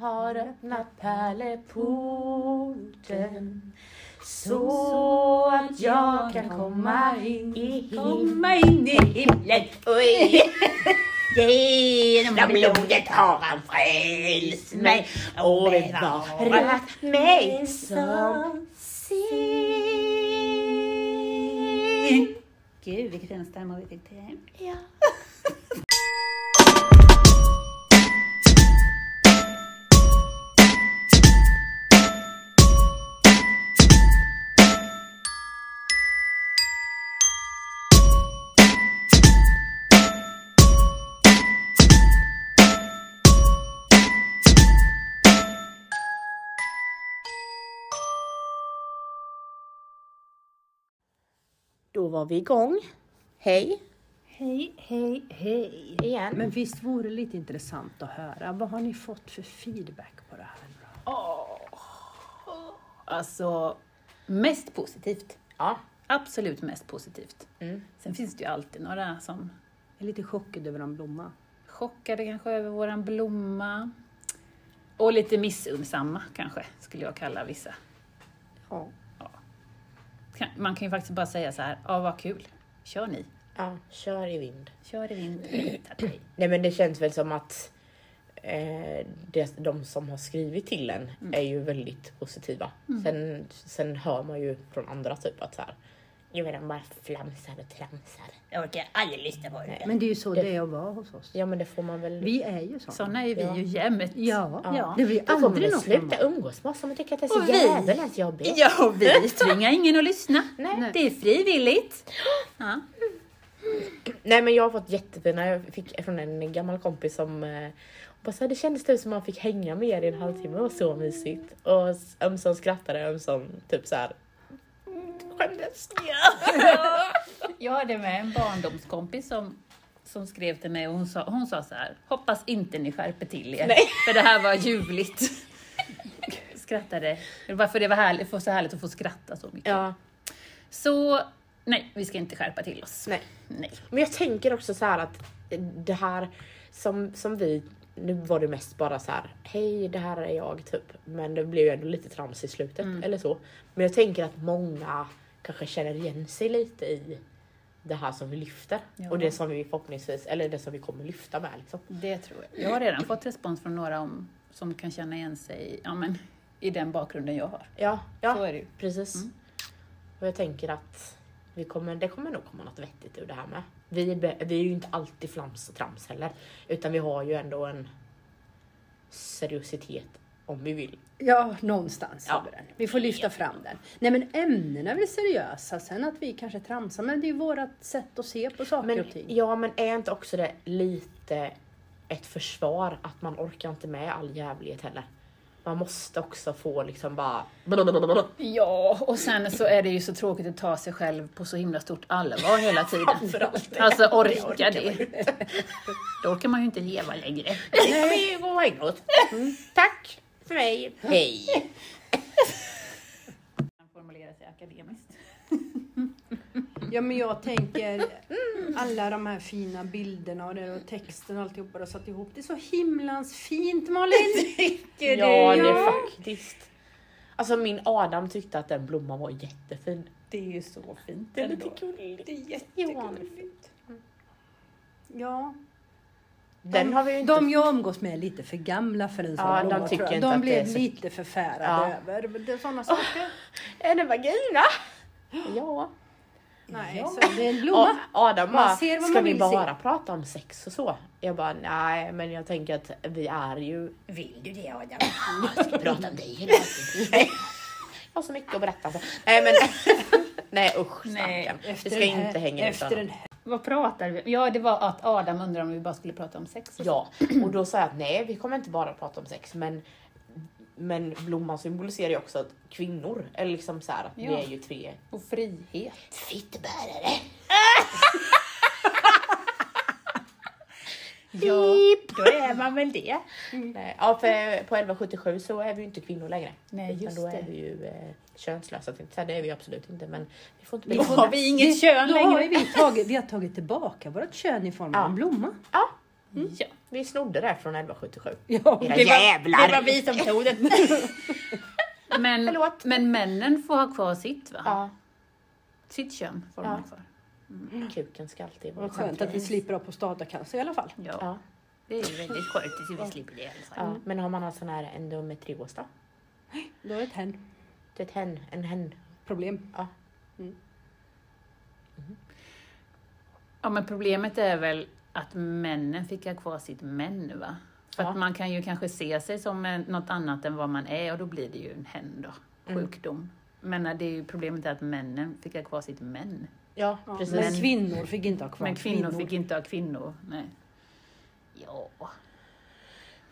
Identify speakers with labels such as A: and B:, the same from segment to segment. A: har öppnat pärleporten så att jag kan komma in.
B: Komma in i himlen. Oj. Genom blodet har han frälst mig och bevarat mig som sin. Gud, vilket enstämmigt och vilket tema.
A: Ja. Då var vi igång. Hej
C: Hej, hej, hej.
A: igen.
C: Men visst vore det lite intressant att höra, vad har ni fått för feedback på det här? då?
B: Alltså, mest positivt.
A: Ja.
B: Absolut mest positivt.
A: Mm.
B: Sen finns det ju alltid några som
C: Jag är lite chockad över en blomma.
B: chockade kanske över våran blomma. Och lite missunnsamma kanske, skulle jag kalla vissa.
C: Ja.
B: Kan- Man kan ju faktiskt bara säga så här, ja vad kul, kör ni.
A: ja, kör i vind.
B: Kör i vind, lita på dig.
A: Nej men det känns väl som att eh, det, de som har skrivit till en är ju väldigt positiva. Sen, sen hör man ju från andra typ att så här, nu är de bara flamsar och tramsar.
B: Jag orkar aldrig lyssna på det.
C: Men det är ju så det är att vara hos oss.
A: Ja men det får man väl.
C: Vi är ju såna.
B: Sådana är vi
A: Ja.
B: ju jämt.
C: Ja.
B: Ja.
C: det blir
A: Då får man
C: aldrig
A: väl
C: något
A: sluta
C: annat.
A: umgås med oss om man tycker att det är så
B: Och vi-
A: jävligt jobbigt.
B: Ja, och vi tvingar ingen att lyssna.
A: Nej.
B: Det är frivilligt. Ja.
A: Nej men jag har fått jättefina, jag fick från en gammal kompis som eh, bara så här, det kändes typ som man fick hänga med er i en halvtimme, det var så mysigt. Och s- ömsom skrattade, ömsom typ så här. mm, skämdes.
B: Jag hade med en barndomskompis som, som skrev till mig och hon sa, hon sa så här, hoppas inte ni skärper till er,
A: Nej.
B: för det här var ljuvligt. Skrattade, varför det var härligt, för så härligt att få skratta så mycket.
A: Ja,
B: Så nej, vi ska inte skärpa till oss.
A: nej.
B: Nej.
A: Men jag tänker också så här att det här som, som vi, nu var det mest bara så här, hej det här är jag typ. Men det blev ju ändå lite trams i slutet eller så. Men jag tänker att många kanske känner igen sig lite i det här som vi lyfter.
B: Ja.
A: Och det som vi förhoppningsvis, eller det som vi kommer lyfta med liksom.
B: Det tror jag. Jag har redan fått respons från några om, som kan känna igen sig i- ja, men, i den bakgrunden jag har.
A: Ja,
B: Så
A: ja
B: är det ju.
A: precis.
C: Mm.
A: Och jag tänker att vi kommer, det kommer nog komma något vettigt ur det här med. Vi, be- vi är ju inte alltid flams och trams heller. Utan vi har ju ändå en seriositet om vi vill.
C: Ja, någonstans
A: Ja.
C: över den. Vi får lyfta fram den. Nej men ämnena är väl seriösa, sen att vi kanske tramsar, men det är ju vårt sätt att se på saker
A: Men,
C: och ting.
A: ja, men är inte också det lite ett försvar att man orkar inte med all jävlighet heller? Man måste också få liksom bara...
B: Ja, och sen så är det ju så tråkigt att ta sig själv på så himla stort allvar hela tiden. Alltså orka det. Då orkar man ju inte leva längre.
A: Nej, gå och häng åt.
C: Mm.
A: Tack för mig. Hej.
B: Man formulerar sig akademiskt.
C: Ja, men jag tänker alla de här fina bilderna och, det, och texten och alltihopa du har satt ihop. Det är så himlans fint Malin! Tycker
A: Ja, det är faktiskt. Alltså min Adam tyckte att den blomman var jättefin.
B: Det är ju så fint
A: Det är lite gulligt. Det är jättegulligt.
C: Ja,
A: Den har vi ju inte...
C: de jag umgås med är lite för gamla för en sån
A: Ja, de
C: blomma
A: tycker
C: tror jag.
A: inte
C: De
A: att det
C: blev
A: är så-
C: lite förfärade
A: Ja.
C: över men det är sådana saker.
A: Är det vagina? Ja.
C: Nej, så det är en
A: Och
C: blomma.
A: Adam
C: Man
A: bara,
C: ser vad
A: ska
C: man
A: vi
C: vill
A: bara prata om sex och så? Jag bara, nej men jag tänker att vi är ju...
B: Vill du det Adam?
A: Jag ska prata om dig hela tiden. Nej. Jag har så mycket att berätta. om. Nej men... Nej usch
B: Nej,
A: stackarn. Vi
C: Efter
A: ska
C: den här-
A: inte hänga ut
C: efter
A: honom.
C: den här.
B: Vad pratade vi om? Ja, det var att Adam undrade om vi bara skulle prata om sex. och så.
A: Ja, och då sa jag att nej, vi kommer inte bara prata om sex, men men blomman symboliserar ju också att kvinnor är liksom så här att
B: Ja.
A: vi är ju tre
B: Och frihet.
A: fittbärare.
B: Ja, då är man väl det.
A: Nej, Ja, för på 1177 så är vi ju inte kvinnor längre.
B: Nej, just
A: utan då är
B: det.
A: vi ju eh, könslösa. tänkte jag säga. Det är vi ju absolut inte, men vi får inte
B: Då har vi inget kön
C: Då har
B: längre.
C: ju vi, tagit, vi har tagit tillbaka vårt kön i form av
A: Ja.
C: en blomma.
A: Ja,
B: Ja.
A: Vi snodde det här från 1177.
C: Ja,
A: Era
B: Det var-
A: jävlar!
B: det var vi
A: som tog det.
B: Men,
A: Förlåt.
B: men männen får ha kvar sitt va?
A: ja,
B: Sitt kön får
A: Ja.
B: de ha kvar.
A: Mm. kuken ska alltid vara
C: Vad skönt att vi slipper ha prostatacancer i alla fall.
B: Ja,
A: Ja,
B: det är ju väldigt skönt att vi slipper det i alla fall.
A: ja. Men har man en sån här endometrios då?
C: Då är det ett hen.
A: Det är ett hen, en hen.
C: Problem.
A: Ja.
B: Ja, men problemet är väl att männen fick ha kvar sitt män, va? För
A: Ja.
B: att man kan ju kanske se sig som en, något annat än vad man är och då blir det ju en hen då,
A: Mm.
B: sjukdom. Men eh, det är ju problemet är att männen fick ha kvar sitt män.
A: Ja,
C: Ja,
A: precis.
C: men kvinnor fick inte ha kvar
B: Men kvinnor, fick inte ha kvinnor. Nej. Ja.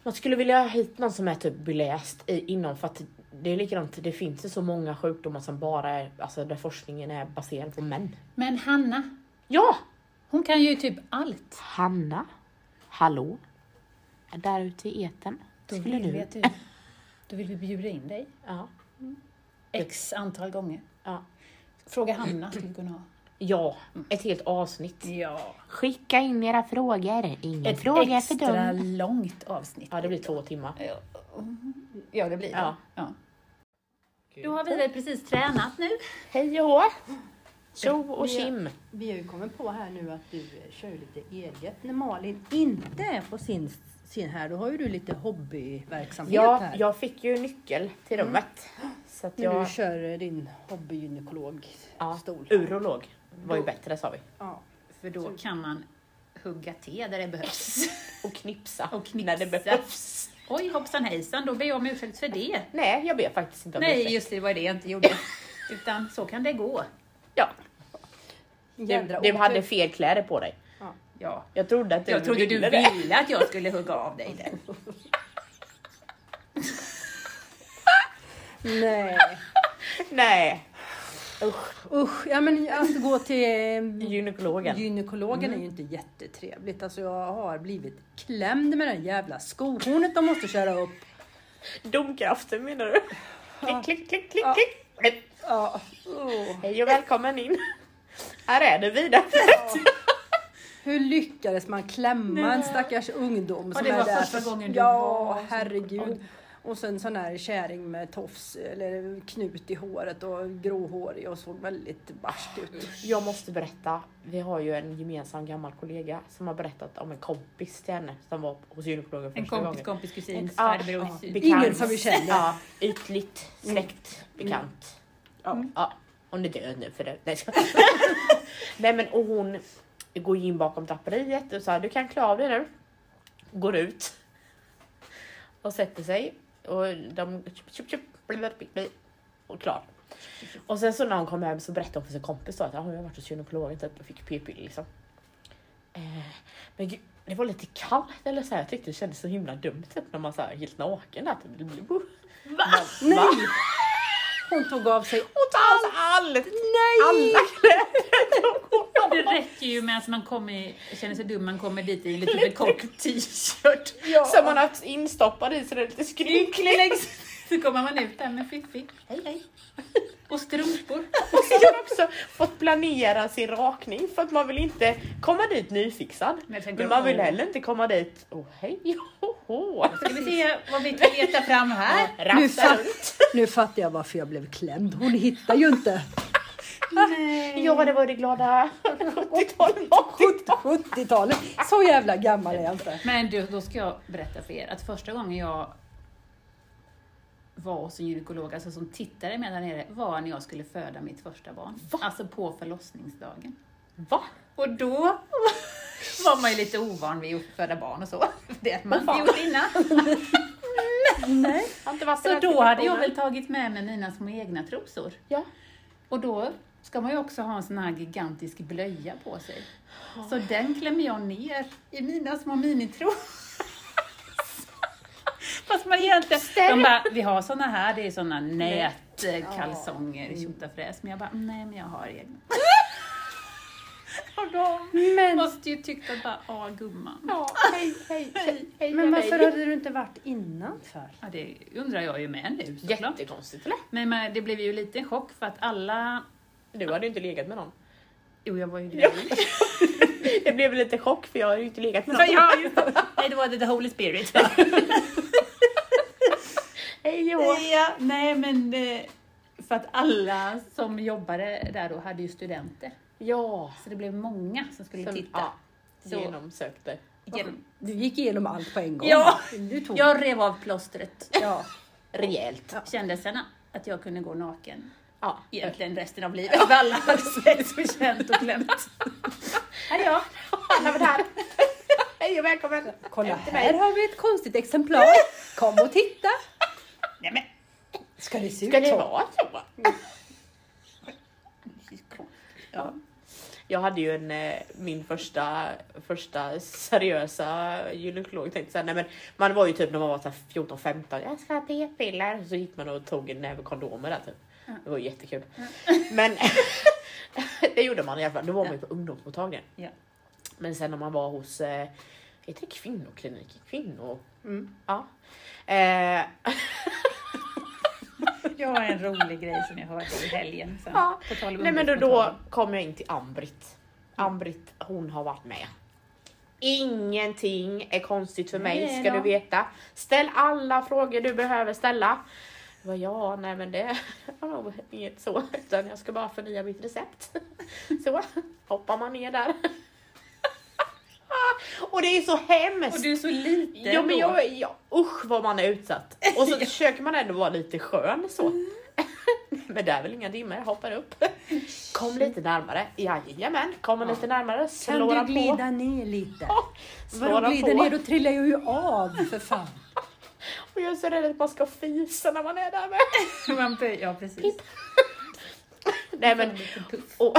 A: Man skulle vilja ha hit någon som är typ beläst i, inom för att det är likadant, det finns ju så många sjukdomar som bara är, alltså där forskningen är baserad på män.
B: Men Hanna,
A: Ja!
B: hon kan ju typ allt.
A: Hanna, hallå? Där ute i etern.
B: Då
A: Skulle
B: vill,
A: du?
B: vet du, då vill vi bjuda in dig
A: Ja.
B: x antal gånger.
A: ja.
B: Fråga Hanna skulle vi kunna ha.
A: Ja, ett helt avsnitt.
B: Ja.
A: Skicka in era frågor. Ingen
B: Ett
A: fråga är för
B: extra
A: dum.
B: långt avsnitt.
A: Ja, det blir två timmar.
B: Ja, ja det blir det.
A: Ja.
B: Då har vi väl precis tränat nu.
A: Hej och hå! Tjo och
C: Ja.
A: tjim!
C: Vi har ju kommit på här nu att du eh, kör lite eget. När Malin inte är på sin, sin här, då har ju du lite hobbyverksamhet
A: Ja,
C: här.
A: jag fick ju nyckel till rummet. Så att
C: När du
A: jag...
C: kör eh, din hobbygynekologstol.
A: Ja,
C: här.
A: urolog var ju bättre sa vi.
C: Ja.
B: För då kan man hugga te där det behövs.
A: Och knipsa,
B: Och knipsa.
A: när det behövs.
B: Oj hoppsan hejsan, då ber jag om ursäkt för det.
A: Nej, jag ber faktiskt inte om
B: Nej,
A: ursäkt.
B: just det, var det jag inte gjorde. Utan så kan det gå.
A: Ja,
C: Jädra
A: du, du
C: otur.
A: hade fel kläder på dig.
C: Ja.
B: Ja.
A: Jag trodde att du
B: Jag trodde du
A: ville det.
B: ville att jag skulle hugga av dig den.
C: Nej.
A: Nej. Usch,
C: Usch, ja men att gå till eh,
A: gynekologen. Mm.
C: Gynekologen är ju inte jättetrevligt. Alltså jag har blivit klämd med det här jävla skohornet de måste köra upp.
A: Domkraften menar du? Klick, klick, klick, klick,
C: Ja.
A: klick.
C: Ja. åh.
A: Hej och välkommen in. Här är det vidare.
C: Hur lyckades man klämma en stackars ungdom som
B: det
C: är
B: var
C: där?
B: första gången du var
C: Ja,
B: som-
C: herregud. Och sen sån här kärring med tofs eller knut i håret och gråhårig och såg väldigt barsk ut.
A: Jag måste berätta, vi har ju en gemensam gammal kollega som har berättat om en kompis till henne som var hos gynekologen
B: En
A: första
B: kompis,
A: gången.
B: kompis, kusin,
A: Ja,
B: farbror,
A: ja,
B: syster.
A: bekant.
C: Ingen som vi känner. Mm.
A: Ja, ytligt, släkt, bekant. Ja. ja. Hon är död nu för det. Nej, ska... Nej men och hon går ju in bakom draperiet och sa du kan klä av dig nu. Går ut. Och sätter sig. Och de tjup, tjup, tjup, bli, bli, bli, och klar. Och sen så när hon kom hem så berättade hon för sin kompis då att ah, jag har varit hos gynekologen typ och fick p-piller liksom. Eh, men gud, det var lite kallt eller så här. Jag tyckte det kändes så himla dumt typ när man så här helt naken där. Typ. Va?
C: Nej!
A: Va?
C: Hon tog av sig
A: Hon tar alltså allt!
C: Nej!
A: Alla
B: Det räcker ju med att man kommer, känner sig dum, man kommer dit i en lite för kort t-shirt.
A: kläder som man har haft instoppad i så det är lite skrynkligt.
B: Så kommer man ut där med fiffi. Hej hej. Och strumpor.
A: Och så har man också fått planera sin rakning för att man vill inte komma dit nyfixad.
B: Men jag tänker,
A: Men man vill
B: åh.
A: heller inte komma dit, åh hej, ho, ho.
B: Ska vi se vad vi kan leta fram här.
C: Nu,
A: Rafsa runt.
C: fatt, nu fattar jag varför jag blev klämd. Hon hittar ju inte.
A: Ja, det var det glada 70-talet. 80-talet.
C: 70-talet. Så jävla gammal är jag inte.
B: Men du, då ska jag berätta för er att första gången jag var hos en gynekolog, alltså som tittade med där nere, var när jag skulle föda mitt första barn. Alltså på förlossningsdagen.
A: Va?
B: Och då var man ju lite ovan vid att föda barn och så. Det hade man
A: Åh,
B: inte
A: fan.
B: gjort innan.
C: Nej.
A: Har inte varit i
B: Så
A: den
B: Alltså, då hade jag
A: situationen.
B: väl tagit med mig mina små egna trosor.
A: Ja.
B: Och då ska man ju också ha en sån här gigantisk blöja på sig. Så den klämmer jag ner i mina små minitrosor. Fast man gör inte... De bara, vi har såna här, det är såna nätkalsonger, tjotafräs. Men jag bara, nej men jag har egna. Och de
C: Men,
B: måste ju tyckt att bara, ja gumman.
A: Ja, hej, hej, hej, hej.
C: men
A: ja,
C: varför
A: hej.
C: hade du inte varit innan för?
B: Ja, det undrar jag ju med nu såklart.
A: Jättekonstigt eller?
B: Men, men det blev ju lite en chock för att alla...
A: Du hade ju inte legat med någon.
B: Jo, jag var ju gravid.
A: Det blev lite chock för jag har ju inte legat med
B: Så
A: någon.
B: ja, just det. Nej, det var det the Holy Spirit.
A: Hej Johan!
B: ja, nej, men eh, för att alla som jobbade där då hade ju studenter.
A: Ja!
B: Så det blev många som skulle
A: Som,
B: titta.
A: ja,
B: Så.
A: genomsökte.
B: Genom.
C: Du gick igenom allt på en gång.
B: Ja.
C: Du tog.
B: Jag rev av plåstret.
C: Ja.
A: Rejält.
B: Kände sen att jag kunde gå naken
A: Ja.
B: egentligen resten av livet. För alla hade sett och känt och glömt. Här är jag.
A: Alla var där. Hej och välkommen!
C: Kolla
A: Efter mig.
C: här har vi ett konstigt exemplar. Kom och titta.
B: Nej, men.
C: Ska det se
A: Ska
C: ut
A: det
C: så?
A: vara så?
B: Ja.
A: Jag hade ju en, eh, min första, första seriösa gynekolog tänkte jag säga. Nej, men man var ju typ när man var så här 14-15, jag ska ha p-piller. Så gick man och tog en näve kondomer där typ. Det var ju jättekul. Men det gjorde man i alla fall. Då var man ju på ungdomsmottagningen.
B: Ja.
A: Men sen när man var hos, eh, heter det kvinnoklinik? Kvinno...
C: Mm.
A: Ja. Eh,
B: Jag har en rolig grej som jag hörde i helgen. Sen,
A: Ja.
B: på tal om
A: Nej men då, då
B: ungdomsmottagning.
A: kom jag in till Ambrit. Ambrit, hon har varit med. Ingenting är konstigt för mig
B: Nej
A: ska
B: då.
A: du veta. Ställ alla frågor du behöver ställa. Jag bara, ja, nej men det var nog inget så, utan jag ska bara förnya mitt recept. Så hoppar man ner där. Och det är så hemskt!
B: Och du är så liten
A: Ja men
B: då.
A: jag, ja, usch vad man är utsatt. Och så försöker man ändå vara lite skön så. men det är väl inga dimmor, jag hoppar upp. Kom lite närmare, jajamän, kommer lite närmare,
C: Kan
A: slår
C: du
A: han på.
C: glida ner lite?
A: Slår
C: Vadå
A: han
C: glider ner?
A: på.
C: Då trillar jag ju av för fan.
A: Och jag är så rädd att man ska fisa när man är där med.
B: Vampyr, ja precis.
A: Nej men, och,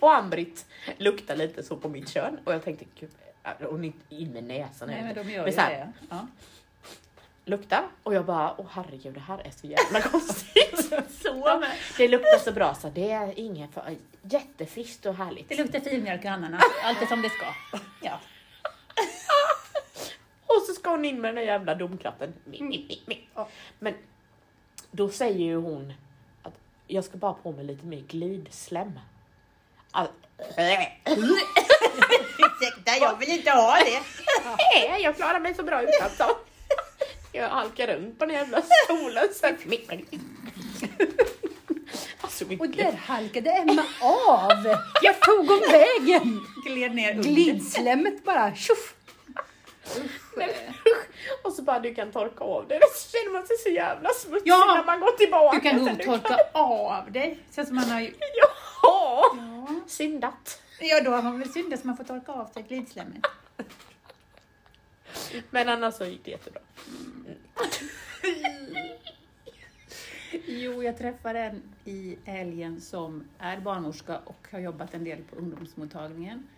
A: och Ambrit luktar lite så på mitt kön och jag tänkte gud, äh, hon är inte in med näsan.
B: Nej men de gör
A: Men
B: ju
A: så här,
B: det. Ja.
A: lukta och jag bara åh herregud det här är så jävla konstigt. så med. Det luktar så bra så det är inget för, jättefriskt och härligt.
B: Det luktar filmjölk och ananas, allt är som det ska. Ja.
A: Och så ska hon in med den där jävla domklappen. Mi, mi, mi,
B: Mm.
A: mi.
C: Ja.
A: Men då säger ju hon att jag ska bara på mig lite mer glidslem. All-
B: Ursäkta, jag vill inte ha det.
A: Nej, jag klarar mig så bra utan så. Jag halkar runt på den jävla stolen sen. Alltså,
C: Och
A: mycket.
C: där halkade Emma av. Jag tog om vägen.
B: Gled ner under.
C: Glidslemmet bara tjoff.
A: Och så bara du kan torka av det. Så känner man sig så jävla smutsig
B: Ja.
A: när man går tillbaka.
B: Du kan
A: Sen
B: nog
A: du
B: torka av dig. Känns som man har ju...
A: Jaha!
B: Ja.
A: Syndat.
B: Ja, då har man väl syndat så man får torka av sig glidslemmet.
A: Men annars så gick det jättebra.
B: Jo, jag träffade en i helgen som är barnmorska och har jobbat en del på ungdomsmottagningen.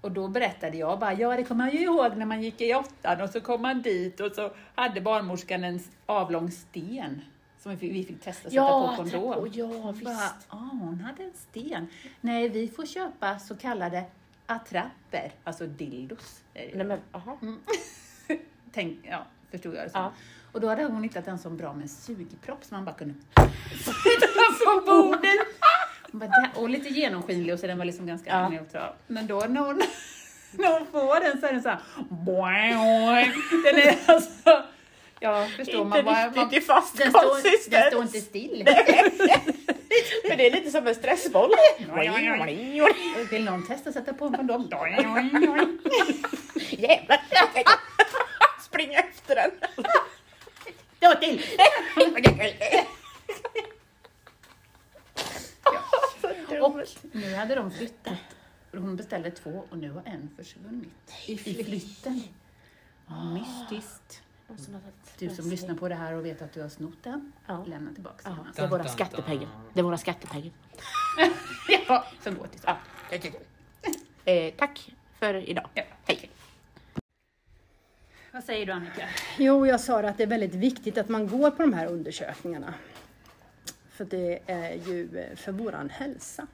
B: Och då berättade jag bara, ja det kommer jag ju ihåg när man gick i åttan och så kom man dit och så hade barnmorskan en avlång sten som vi fick, vi fick testa att sätta på kondom.
A: tack. Och ja,
B: Bara,
A: visst.
B: ah, hon hade en sten. Nej, vi får köpa så kallade attrapper, alltså dildos. Eh,
A: Nej men, aha.
B: Tänk, ja, förstod jag det som.
A: Ja.
B: Och då hade hon hittat en sån bra med sugpropp som man bara kunde från bordet. Hon bara, "Där." Och lite genomskinlig och så den var liksom ganska
A: Ja.
B: neutral. Men då när hon, när hon får den så är den så här, boing. Den är alltså, ja förstår
A: Inte
B: man vad... man-
A: riktigt i fast
B: Den
A: konsistens.
B: står, den står inte still.
A: Men det är lite som en stressboll.
B: Vill någon testa att sätta på en kondom?
A: Jävlar! Spring efter den.
B: Då till! Och nu hade de flyttat. Hon beställde två och nu har en försvunnit.
C: I
B: I
C: flykt.
B: flytten. Mystiskt. Du som lyssnar på det här och vet att du har snott den,
A: Ja.
B: lämna tillbaka den.
A: Det är våra skattepengar. Det är våra skattepengar.
B: Ja, som går till ja.
A: Eh, tack för idag.
B: Ja.
A: Hej.
B: Vad säger du Annika?
C: Jo, jag sa det att det är väldigt viktigt att man går på de här undersökningarna. För det är ju eh, för våran hälsa.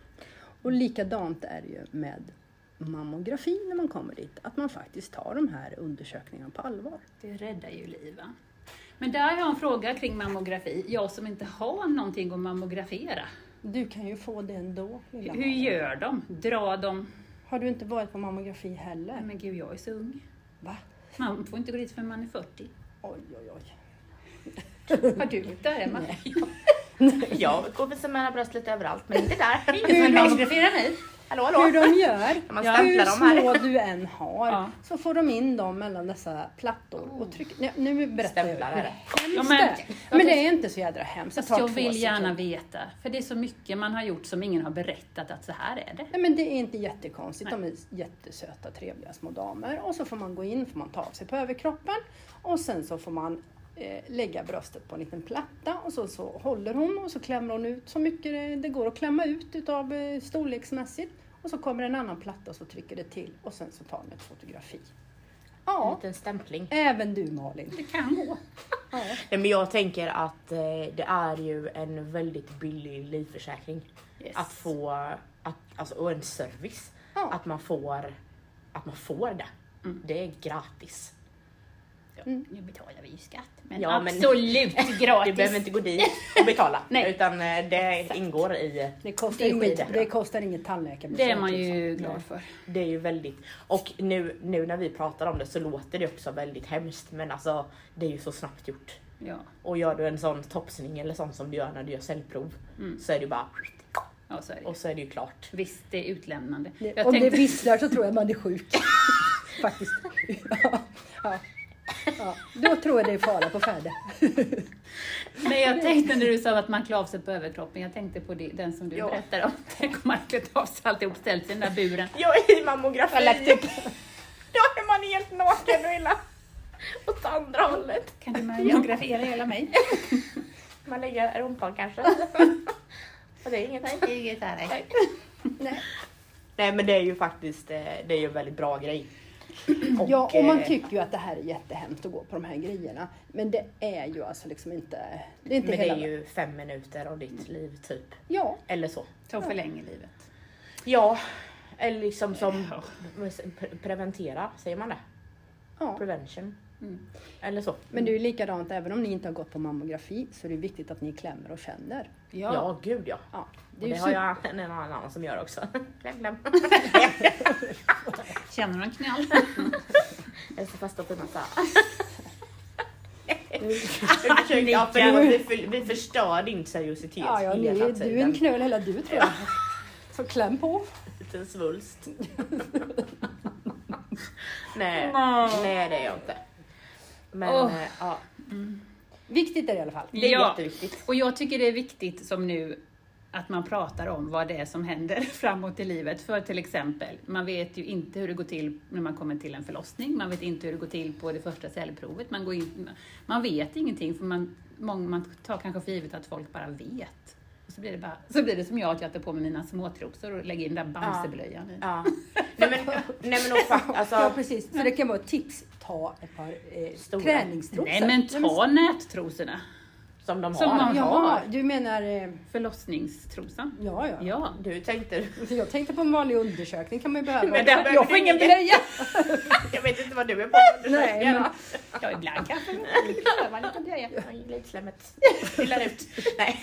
C: Och likadant är det ju med mammografi när man kommer dit. Att man faktiskt tar de här undersökningarna på allvar.
B: Det räddar ju liv va? Men där har jag en fråga kring mammografi. Jag som inte har någonting att mammografera.
C: Du kan ju få det ändå.
B: Hur gör de? Drar de
C: Har du inte varit på mammografi heller?
B: Nej, men gud, jag är så ung.
C: Va?
B: Man får inte gå dit förrän man är 40.
C: Oj, oj, oj.
B: Har du varit där, Emma?
A: Jag går och visar mina bröst lite överallt men inte där.
B: Ingen som vill mammografera mig.
A: Hallå
C: Hur
A: hallå!
C: de gör,
A: Man
C: hur
A: stämplar dem här.
C: små du än har,
B: Ja.
C: så får de in dem mellan dessa plattor. Och tryck... Nej, nu berättar jag
A: Stämplar
C: hur
A: är det.
C: hemskt
B: Ja,
C: det
B: men-
C: är. Men det är inte så jädra hemskt. Det
B: Fast
C: tar
B: jag
C: två
B: vill gärna
C: sekunder.
B: veta, för det är så mycket man har gjort som ingen har berättat att så här är det.
C: Nej, men det är inte jättekonstigt. De är jättesöta, trevliga små damer. Och så får man gå in, får man ta av sig på överkroppen och sen så får man eh, lägga bröstet på en liten platta och så, så håller hon och så klämmer hon ut så mycket det, det går att klämma ut utav eh, storleksmässigt. Och så kommer en annan platta och så trycker det till och sen så tar hon ett fotografi.
A: En
C: Ja,
A: liten stämpling.
C: även du Malin.
B: Det kan gå.
C: Ja.
A: Nej, men jag tänker att eh, det är ju en väldigt billig livförsäkring.
B: Yes.
A: Att få, att, alltså, och en service.
C: Ja.
A: Att man får, att man får det. Det är gratis.
B: Ja, Nu betalar vi ju skatt, men
A: Ja, men-
B: absolut
A: Du
B: gratis.
A: behöver inte gå dit och betala.
B: Nej.
A: Utan eh, det ingår i
C: Det kostar,
A: Det är
C: inget,
A: skitbra.
C: det kostar inget tandläkarbesök.
B: Det är man ju
C: liksom.
B: glad för.
A: Det är ju väldigt, och nu, nu när vi pratar om det så låter det också väldigt hemskt men alltså det är ju så snabbt gjort.
B: Ja,
A: Och gör du en sån topsning eller sånt som du gör när du gör cellprov så är det ju bara
B: ja så är det.
A: och så är det ju klart.
B: Visst, det är utlämnande.
C: Det-
B: Jag
C: Om
B: tänkte-
C: det visslar så tror jag man är sjuk. Faktiskt. Ja, ja, ja. Då tror jag det är fara på färde.
B: Men jag tänkte när du sa att man klär av sig på överkroppen, jag tänkte på det, den som du
A: Ja.
B: berättade om. Tänk om man hade klätt av sig alltihop, ställt sig i den där buren.
A: Jag är i mammografi!
B: Jag har lagt upp.
A: Då är man helt naken och hela åt andra hållet.
B: Kan du mammografera hela mig?
A: Man lägger rumpan kanske. och det är inget nej.
B: Inget här, nej.
A: Nej men det är ju faktiskt eh, det är ju en väldigt bra grej.
C: Ja, och
A: eh,
C: man tycker ju att det här är jättehemskt att gå på de här grejerna. Men det är ju alltså liksom inte... Det är inte
A: men det
C: hela...
A: är ju fem minuter av ditt liv typ.
C: Ja,
A: Eller så.
B: Som förlänger livet.
A: Ja, eller liksom som pre- preventera, säger man det?
C: ja.
A: Prevention.
B: Mm.
A: Eller så.
C: Men det är ju likadant, även om ni inte har gått på mammografi så är det viktigt att ni klämmer och känner.
A: Ja,
B: Ja.
A: gud ja.
C: Ja,
A: Det, och det
C: ju
A: har
C: super-
A: jag en, en annan som gör också. Kläm, kläm.
B: Känner du en knall?
A: Jag ska fasta på massa. ja, förlåt, vi, för, vi förstör din seriositet
C: Ja, ja ni,
A: hela
C: du är en
A: tiden.
C: knöl hela du tror jag. Så kläm på.
A: Liten svulst. nej,
B: Nå.
A: nej det är jag inte. Men
B: Åh.
A: eh, ja,
C: Viktigt är det i alla fall.
A: det är
B: Ja.
A: jätteviktigt.
B: Mm. Och jag tycker det är viktigt som nu att man pratar om vad det är som händer framåt i livet. För till exempel, man vet ju inte hur det går till när man kommer till en förlossning, man vet inte hur det går till på det första cellprovet, man, går in, man vet ingenting för man, många, man tar kanske för givet att folk bara vet. Och så, blir det bara, så blir det som jag, att jag tar på mig mina småtrosor och lägger in den där Bamseblöjan i.
A: Ja. Nej men, nej, men och, fakt-
C: Ja
A: alltså,
C: precis, så det kan vara ett tips. Ta ett par eh,
A: Stora.
C: träningstrosor.
B: Nej men ta nättrosorna!
A: som de har.
B: Som de-
C: Ja, du menar... eh,
B: Förlossningstrosan.
C: Ja, ja.
B: Ja.
A: Du tänkte,
C: Jag tänkte på en vanlig undersökning kan man ju behöva.
A: Men där behöver
C: jag
A: du
C: får ingen
A: ingen-
C: blöja!
A: jag vet inte vad du är på
C: Nej, men-
B: ja, ibland kanske man behöver lite blöja.
A: Glidslemmet trillar ut. Nej.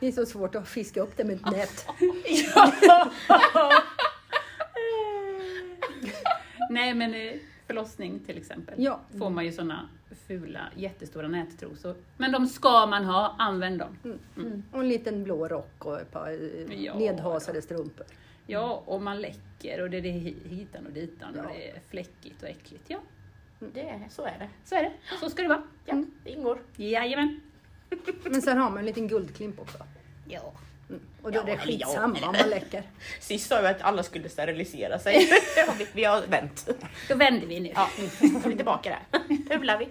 C: Det är så svårt att fiska upp det med ett nät.
B: Nej, men eh, förlossning till exempel.
C: Ja.
B: Får man ju såna fula, jättestora nättrosor. Men de ska man ha, använd dem.
A: Mm.
C: Och en liten blå rock och ett par eh,
B: Ja,
C: nedhasade strumpor.
B: Ja, och man läcker och det är det hi- hitan och ditan och det är fläckigt och äckligt. Ja,
A: Det, så är det.
B: så är det. Så ska det vara.
A: Ja, det ingår.
B: Jajamän.
C: Men sen har man en liten guldklimp också.
B: Ja.
C: Och då är det
A: Ja, eller ja,
C: skitsamma om man läcker.
A: Sist sa vi att alla skulle sterilisera sig. Det har vi- vi har vänt.
B: Då vänder vi nu.
A: Ja, nu är vi tillbaka där. Pular vi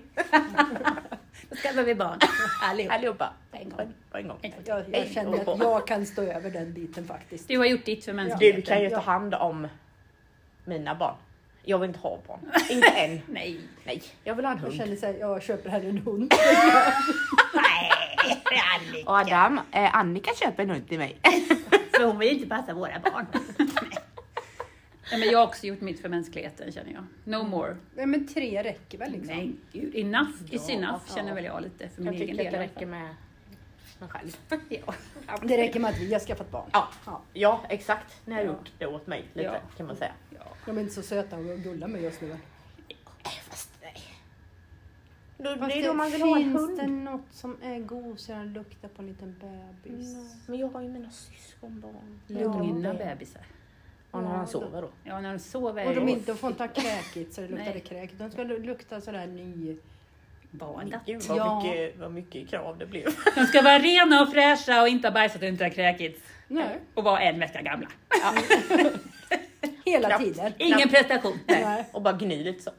B: Då skaffar vi barn. Allihop.
A: allihopa.
B: På en gång.
A: På en gång.
C: Jag, jag
A: Hej
C: känner
A: då.
C: att jag kan stå över den biten faktiskt.
B: Du har gjort ditt för
A: Du
B: mänskligheten.
A: kan ju ta hand om mina barn. Jag vill inte ha barn. Inte än.
B: Nej.
A: Nej, jag vill ha en
C: Jag
A: hund.
C: känner så här, jag köper hellre en hund.
B: Nej, aldrig.
A: Och Adam, eh, Annika köper en hund till mig.
B: För hon vill inte passa våra barn. Nej, men jag har också gjort mitt för mänskligheten känner jag. No more.
C: Nej men tre räcker väl liksom?
B: Nej, gud. Enough is
C: Ja,
B: enough
C: ja.
B: känner väl jag lite för min
A: Jag
B: egen
A: tycker att
B: del.
A: det
B: i alla fall.
A: räcker med mig själv.
B: Ja.
C: Det räcker med att vi har skaffat barn.
A: Ja,
C: Ja.
A: ja exakt. Ni har
B: Ja.
A: gjort det åt mig lite
B: Ja.
A: kan man säga.
B: Ja.
C: De är inte så söta och gulla med just nu.
A: Eh, Fast nej. Då, det är då man vill ha en
D: finns
A: hund.
D: det något som är gosigare än att lukta på en liten
A: Mm.
D: bebis?
A: Men jag har ju mina syskonbarn.
B: Lugna
A: Ja.
B: bebisar.
A: Ja, när han sover då.
B: Ja, när de sover
D: Och de,
B: är
D: inte, de får inte ha kräkigt så det luktar
B: Nej.
D: det kräkigt. De ska lukta sådär ny...
B: badat.
A: Gud vad,
D: Ja.
A: mycket, vad mycket krav det blev.
B: De ska vara rena och fräscha och inte ha bajsat och inte ha kräkits.
C: Nej,
B: Och vara en vecka gamla.
C: hela
A: Knappt.
C: tiden.
B: Ingen prestation.
C: Nej.
A: Och bara gny lite så.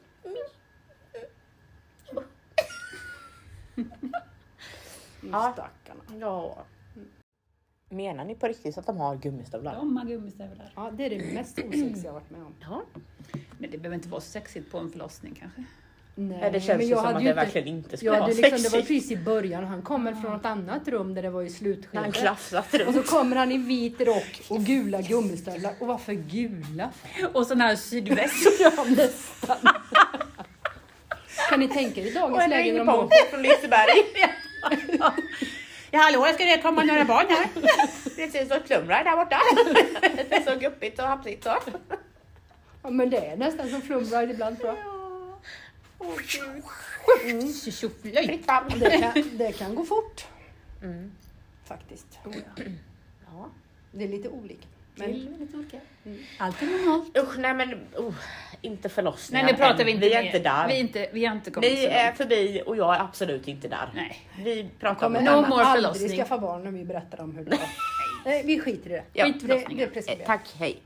A: Ja.
C: Stackarna.
A: Ja. Menar ni på riktigt att de har gummistövlar?
B: De har gummistövlar.
C: Ja, det är det mest osexiga jag har varit med om.
A: Ja.
B: Men det behöver inte vara så sexigt på en förlossning kanske.
A: Nej, det känns ju som att det verkligen inte skulle
C: jag
A: vara
C: hade liksom, Det var
A: sexigt.
C: precis i början, han kommer från ett annat rum där det var i
A: När han
C: slutskedet.
A: klafsat
C: Och
A: runt.
C: så kommer han i vit rock och gula gummistövlar. Och varför gula?
B: Och sån här sydväst.
C: Ja, nästan. Kan ni tänka er i dagens läge när de har
A: från Liseberg.
B: ja hallå, ska det komma några barn här?
A: Det ser ut som ett flumride där borta. Det är så guppigt och hafsigt så.
C: Ja, men det är nästan som flumride ibland tror jag.
A: Åh gud.
B: Mm. Tjoflöjt.
A: Fritt fram.
C: Det kan, det kan gå fort. Mm. Faktiskt.
A: Ja.
C: Det är lite olika. Men
B: Men... Mm. Allt är normalt.
A: Usch, nej men oh, inte förlossningar
B: Nej, det pratar
A: än.
B: vi inte
A: Vi är
B: mer.
A: inte där.
B: Vi, är inte, vi har inte kommit
A: Ni
B: så långt.
A: är förbi och jag är absolut inte där.
B: Nej.
A: Vi pratar om
C: kommer
A: något
B: no
A: annat.
B: more
C: aldrig
B: förlossning.
C: skaffa barn när vi berättar om hur det var. Nej, vi skiter i det.
A: Ja.
C: Skit i det, det är preskriberat.
A: Eh, Tack, hej.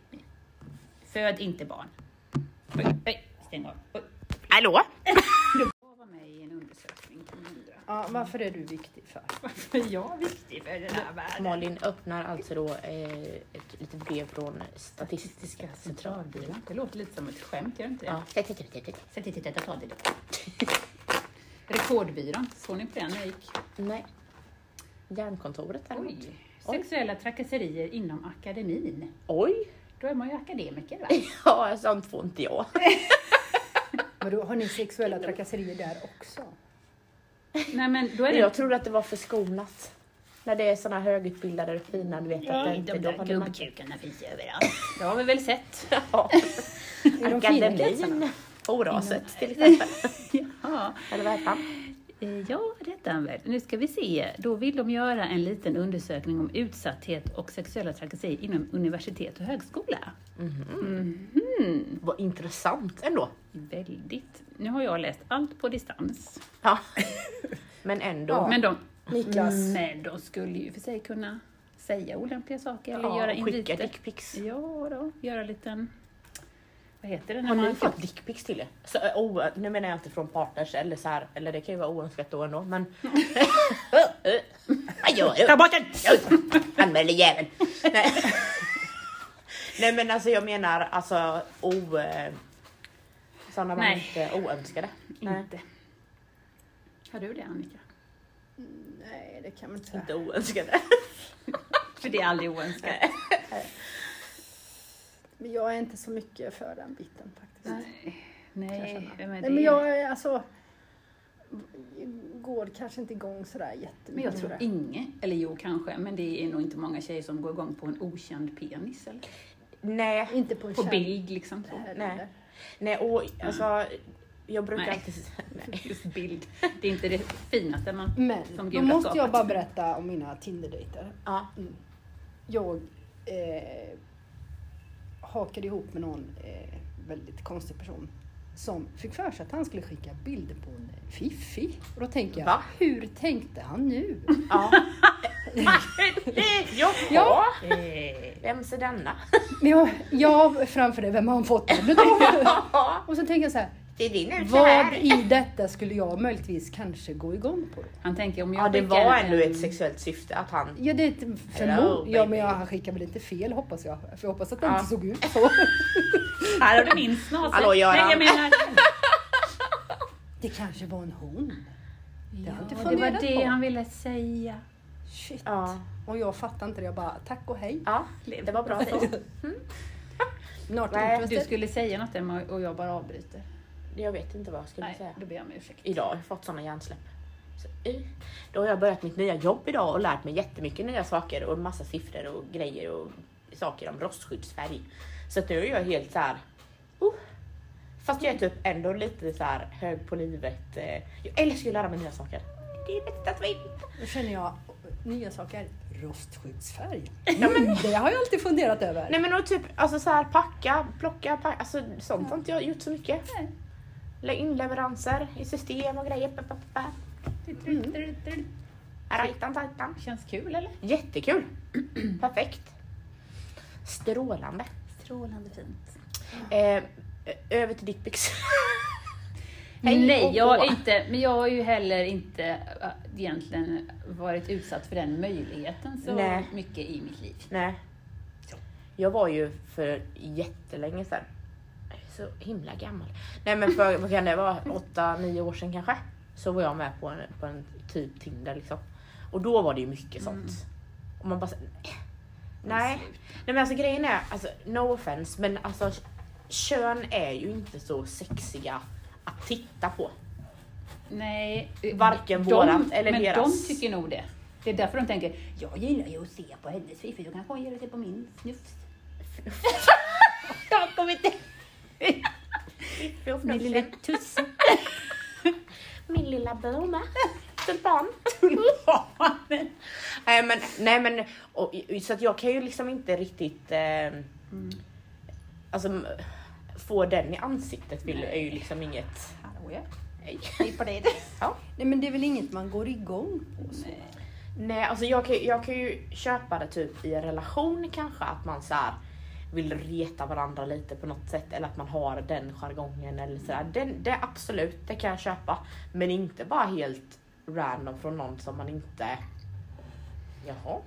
B: Föd inte barn. Oj, oj, stäng av. Oj.
A: Hallå?
B: Jag var med i en undersökning på Mindra.
C: Ja, varför är du viktig för?
B: Varför är jag viktig för den här världen?
A: Malin öppnar alltså då eh, ett litet brev från Statistiska centralbyrån.
B: Det låter lite som ett skämt, gör det inte det?
A: Ja.
B: Sätt dit titta, ta det då. Rekordbyrån, såg ni på den när jag gick?
A: Nej. Hjärnkontoret däremot.
B: Oj. Sexuella trakasserier inom akademin.
A: Oj!
B: Då är man ju akademiker va?
A: Ja, sånt får inte jag.
C: Vadå, har ni sexuella trakasserier där också?
B: Nej men då är det...
A: Jag trodde att det var förskonat. När det är såna högutbildade och fina, du vet att det
B: Nej,
A: inte...
B: de
A: då
B: där
A: har det man-
B: gubbkukarna finns ju överallt. Det har vi väl sett.
A: Ja.
C: Är de fina kretsarna?
A: Akademin. Oraset till exempel.
B: Mm. Ja.
A: Eller vad heter han?
B: Eh, Ja, det hette han väl. Nu ska vi se. Då vill de göra en liten undersökning om utsatthet och sexuella trakasserier inom universitet och högskola. Mhm.
A: Vad intressant ändå.
B: Väldigt. Nu har jag läst allt på distans.
A: Ja. Men ändå.
C: Ja.
B: Men de,
C: Niklas.
B: men de skulle ju för sig kunna säga olämpliga saker eller
A: Ja,
B: göra
A: och skicka
B: inviter.
A: dickpics.
B: Ja, då. Göra en liten... Vad heter det? När
A: Har ni
B: man
A: fått dickpics till er? Så, eh, oh, nu menar jag inte från partners eller så här, eller det kan ju vara oönskat då ändå men... Ajå, ajå.
B: Ta bort den!
A: Anmäl dig jävel! Nej. Nej men alltså jag menar alltså o... eh, Sådana man
B: Nej.
A: inte oönskade. Nej.
B: Inte. Har du det Annika?
C: Nej, det kan man inte
A: Inte oönskade.
B: För det är aldrig oönskat.
C: Men jag är inte så mycket för den biten faktiskt.
B: Nej,
C: kan jag
B: Nej,
C: känna.
B: vem är
C: Nej,
B: det?
C: men jag är alltså... Går kanske inte igång sådär jättemycket.
B: Men jag tror
C: på det.
B: inget, eller jo kanske, men det är nog inte många tjejer som går igång på en okänd penis eller?
A: Nej.
C: Inte på, en
B: På
C: kär-
B: bild liksom. Så.
C: här
A: Nej.
C: eller-
A: Nej och alltså jag brukar
B: Nej.
A: alltid... Nej.
B: Just bild. Det är inte det finaste man... Som
C: Men då
B: Gud har
C: måste jag
B: skapat.
C: bara berätta om mina Tinder-dejter.
A: Ja.
C: Jag eh, hakade ihop med någon eh, väldigt konstig person som fick för sig att han skulle skicka bilder på en fiffi. Och då tänker jag,
A: Va?
C: hur tänkte han nu?
A: ja. Jaha!
C: Ja.
B: Eh,
A: Vem ser denna?
C: Men jag, jag framför det, vem har han fått den utav? Och så tänker jag så här,
A: Det är din ut så
C: vad
A: här.
C: i detta skulle jag möjligtvis kanske gå igång på? Då?
B: Han tänker om jag
A: Ja det
B: skickar
A: var ändå
B: en-
A: ett sexuellt syfte att han...
C: Ja, det är ett förmod. Ja,
A: baby.
C: men jag, han skickade väl inte fel hoppas jag. För jag hoppas att det
A: Ja.
C: inte såg ut så.
B: Här har du min snase.
A: Hallå, Göran.
B: Nej, jag menar...
C: Det kanske var en hon. Det har jag inte
B: Ja, det var
C: funderat
B: det
C: på.
B: han ville säga.
C: Shit.
A: Ja.
C: Och jag fattar inte det. Jag bara, tack och hej.
A: Ja, det var bra så.
C: Not
A: Nej,
B: Du
C: interested.
B: skulle säga något Emma och jag bara avbryter.
A: Jag vet inte vad jag skulle
B: Nej,
A: säga.
B: då ber jag om ursäkt.
A: Idag har jag fått såna hjärnsläpp. Så, eh. Då har jag börjat mitt nya jobb idag och lärt mig jättemycket nya saker och massa siffror och grejer och saker om rostskyddsfärg. Så att nu är jag helt så här. Oh. Fast jag är typ ändå lite så här hög på livet. eh. Jag älskar ju att lära mig nya saker. Det är bästa som finns.
D: Då känner jag nya saker. Rostskyddsfärg. det har jag alltid funderat över.
A: Nej men och typ alltså så här, packa, plocka, packa, alltså sånt har inte jag gjort så mycket.
B: Nej.
A: Lä- Inleveranser i system och grejer. Pa, pa, pa.
C: Mm.
A: Rajtan, tajtan.
B: Känns kul eller?
A: Jättekul! Perfekt. Strålande.
B: Strålande fint.
A: Eh, över till ditt byx.
B: Nej,
A: och
B: jag
A: gå.
B: är inte, men jag har ju heller inte äh, egentligen varit utsatt för den möjligheten så
A: Nej.
B: mycket i mitt liv.
A: Nej. Jag var ju för jättelänge sedan. Jag är Så himla gammal. Nej men för vad kan det vara, åtta, nio år sedan kanske. Så var jag med på en, på en typ Tinder liksom. Och då var det ju mycket sånt. Och man bara så- Nej. Nej men alltså grejen är, alltså, no offense men alltså kön är ju inte så sexiga att titta på.
B: Nej,
A: Varken vårat eller
B: men
A: deras.
B: de tycker nog det. Det är därför de tänker, jag gillar ju att se på hennes fiffig, då kanske hon gillar att se på min snufs. jag kommer inte... Min lilla tuss.
A: Min lilla blomma. Tulpan. nej men, nej, men och, så att jag kan ju liksom inte riktigt eh, alltså, m- få den i ansiktet vill, är ju liksom inget.
B: Hallå
A: Nej.
B: ja. På dig.
C: Nej men det är väl inget man går igång på så.
A: Nej alltså jag kan, jag kan ju köpa det typ i en relation kanske att man så här vill reta varandra lite på något sätt eller att man har den jargongen eller sådär. Den, det absolut, det kan jag köpa. Men inte bara helt random från någon som man inte... Jaha.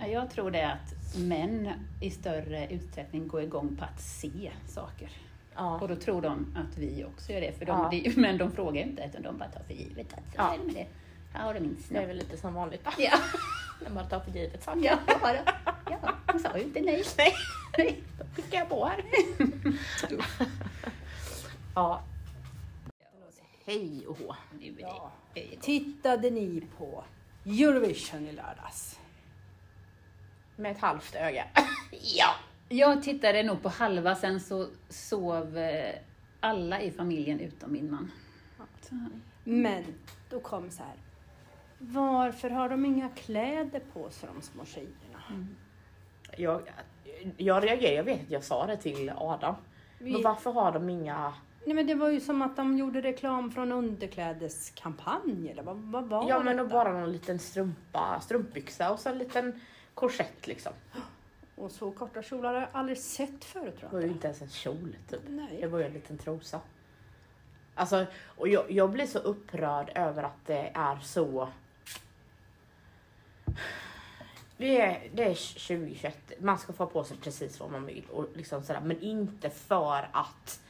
B: Ja, Jag tror det är att män i större utsträckning går igång på att se saker.
A: Ja.
B: Och då tror de att vi också gör det, för de,
A: Ja.
B: det är ju- men de frågar ju inte utan de bara tar för givet att så
A: Ja.
B: är det med det. Här har du min
A: Det är
B: snopp.
A: väl lite som vanligt.
B: Ja,
A: När man tar för givet saker.
B: ja, bara. ja, hon sa ju inte nej.
A: Nej.
B: Nej.
A: Då skickar jag på här. ja. Hej och hå.
B: Nu är det- det är-
D: Tittade ni på Eurovision i lördags?
A: Med ett halvt öga. ja.
B: Jag tittade nog på halva, sen så sov eh, alla i familjen utom min man. Så han-
C: Men
D: Då kom så här.
C: varför har de inga kläder på sig de små tjejerna?
A: Jag, jag reagerar, jag vet att jag sa det till Adam. Men
C: Vi-
A: varför har de inga...
C: Nej men det var ju som att de gjorde reklam från underklädeskampanj eller vad, vad var
A: Ja men
C: detta?
A: och bara någon liten strumpa, strumpbyxa och så en liten korsett liksom.
C: Och så korta kjolar har jag aldrig sett förut tror
A: Det
C: jag.
A: var ju inte ens en kjol typ. Det
C: Nej.
A: var ju en liten trosa. Alltså, och jag, jag blir så upprörd över att det är så... Det är, det är 2021, man ska få på sig precis vad man vill och liksom sådär, men inte för att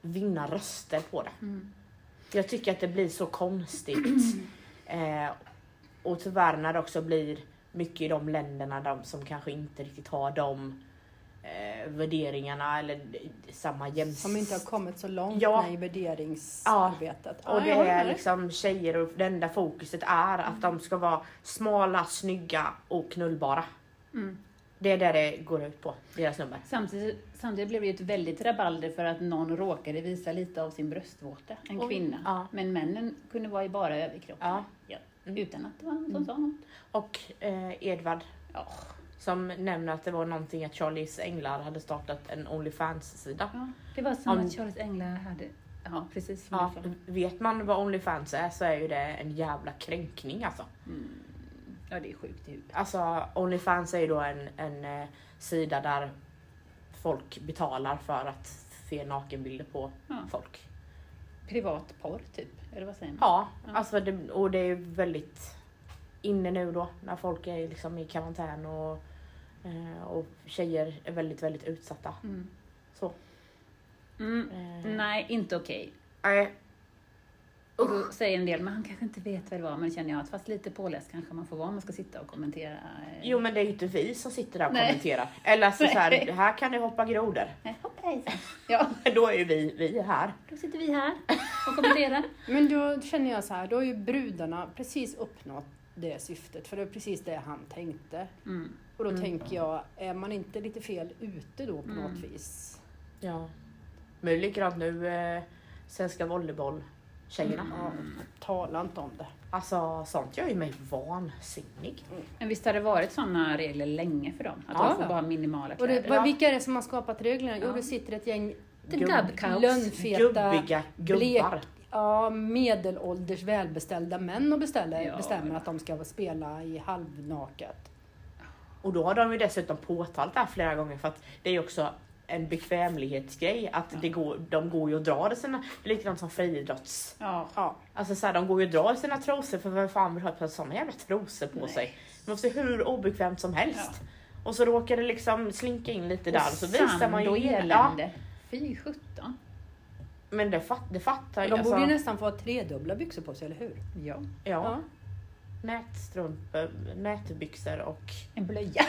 A: vinna röster på det. Jag tycker att det blir så konstigt. eh, och tyvärr när det också blir mycket i de länderna de som kanske inte riktigt har de eh, värderingarna eller d- samma jämställdhet.
C: Som inte har kommit så långt
A: Ja.
C: med i värderingsarbetet. Ah,
A: Och det
C: jag håller
A: är
C: med dig.
A: liksom tjejer och det enda fokuset är att de ska vara smala, snygga och knullbara.
B: Mm.
A: Det är det det går ut på, deras nummer.
B: Samtidigt, samtidigt blev det ju ett väldigt rabalder för att någon råkade visa lite av sin bröstvårta, en
A: Oj.
B: kvinna.
A: Ja.
B: Men männen kunde vara i bara överkropp.
A: Ja. Mm.
B: Ja. Utan att det var någon som sa något.
A: Och eh, Edvard
B: Ja.
A: som nämner att det var någonting att Charlies änglar hade startat en Onlyfans-sida.
B: Ja. Det var som
A: Om-
B: att Charles Änglar hade... Ja, precis. som
A: Ja,
B: du sa.
A: vet man vad Onlyfans är så är ju det en jävla kränkning alltså.
B: Mm. ja, det är sjukt typ. i huvudet.
A: Alltså Onlyfans är ju då en, en eh, sida där folk betalar för att se nakenbilder på
B: Ja.
A: folk.
B: Privat porr, typ. Eller vad säger man?
A: Ja, alltså det, och det är ju väldigt inne nu då när folk är liksom i karantän och, eh, och tjejer är väldigt, väldigt utsatta.
B: Mm.
A: Så.
B: Mm.
A: Eh,
B: Nej, inte okej.
A: nej.
B: Och då säger en del, men han kanske inte vet vad det var, men känner jag att fast lite påläst kanske man får vara om man ska sitta och kommentera. eh,
A: Jo men det är ju inte vi som sitter där och
B: Nej.
A: kommenterar. Eller alltså, så här,
B: Nej.
A: här kan det hoppa grodor.
B: eh, Hopp hejsan. Ja,
A: Då är ju vi, vi här.
B: då sitter vi här och kommenterar.
C: Men då känner jag så här, då har ju brudarna precis uppnått det syftet, för det är precis det han tänkte.
B: Mm.
C: Och då tänker jag, är man inte lite fel ute då på
A: Mm.
C: något vis?
A: Ja. Men det är likadant nu, eh, Svenska Volleyboll-tjejerna.
B: Mm.
C: Ja, tala inte om det.
A: Alltså sånt gör ju mig vansinnig.
B: Men visst har det varit sådana regler länge för dem? Att
A: Ja.
B: de får bara minimala
C: Och det,
B: kläder?
C: vad- vilka är det som har skapat reglerna? Jo,
B: Ja.
C: det sitter ett gäng
B: Det är gubbkaos.
C: lönnfeta,
A: Gubbiga
C: blek,
A: gubbar.
C: ja, medelålders välbeställda män och beställer,
B: Ja.
C: bestämmer att de ska spela i halvnaket.
A: Och då har de ju dessutom påtalat det här flera gånger för att det är ju också en bekvämlighetsgrej att det går, de går ju och drar i sina, det är likadant som friidrotts.
B: Ja.
C: Ja.
A: Alltså så här, de går ju och drar i sina trosor för vem fan vill ha ett par sådana jävla trosor på
B: Nej.
A: sig? Det måste vara hur obekvämt som helst. Och så råkar det liksom slinka in lite där och så visar man ju
B: elände.
A: Ja,
B: Fy sjutton.
A: men det, fat, det fattar
C: De
A: ju.
C: borde ju nästan få ha tredubbla byxor på sig, eller hur?
B: Ja.
A: ja, nätstrumpor, nätbyxor och
B: En blöja.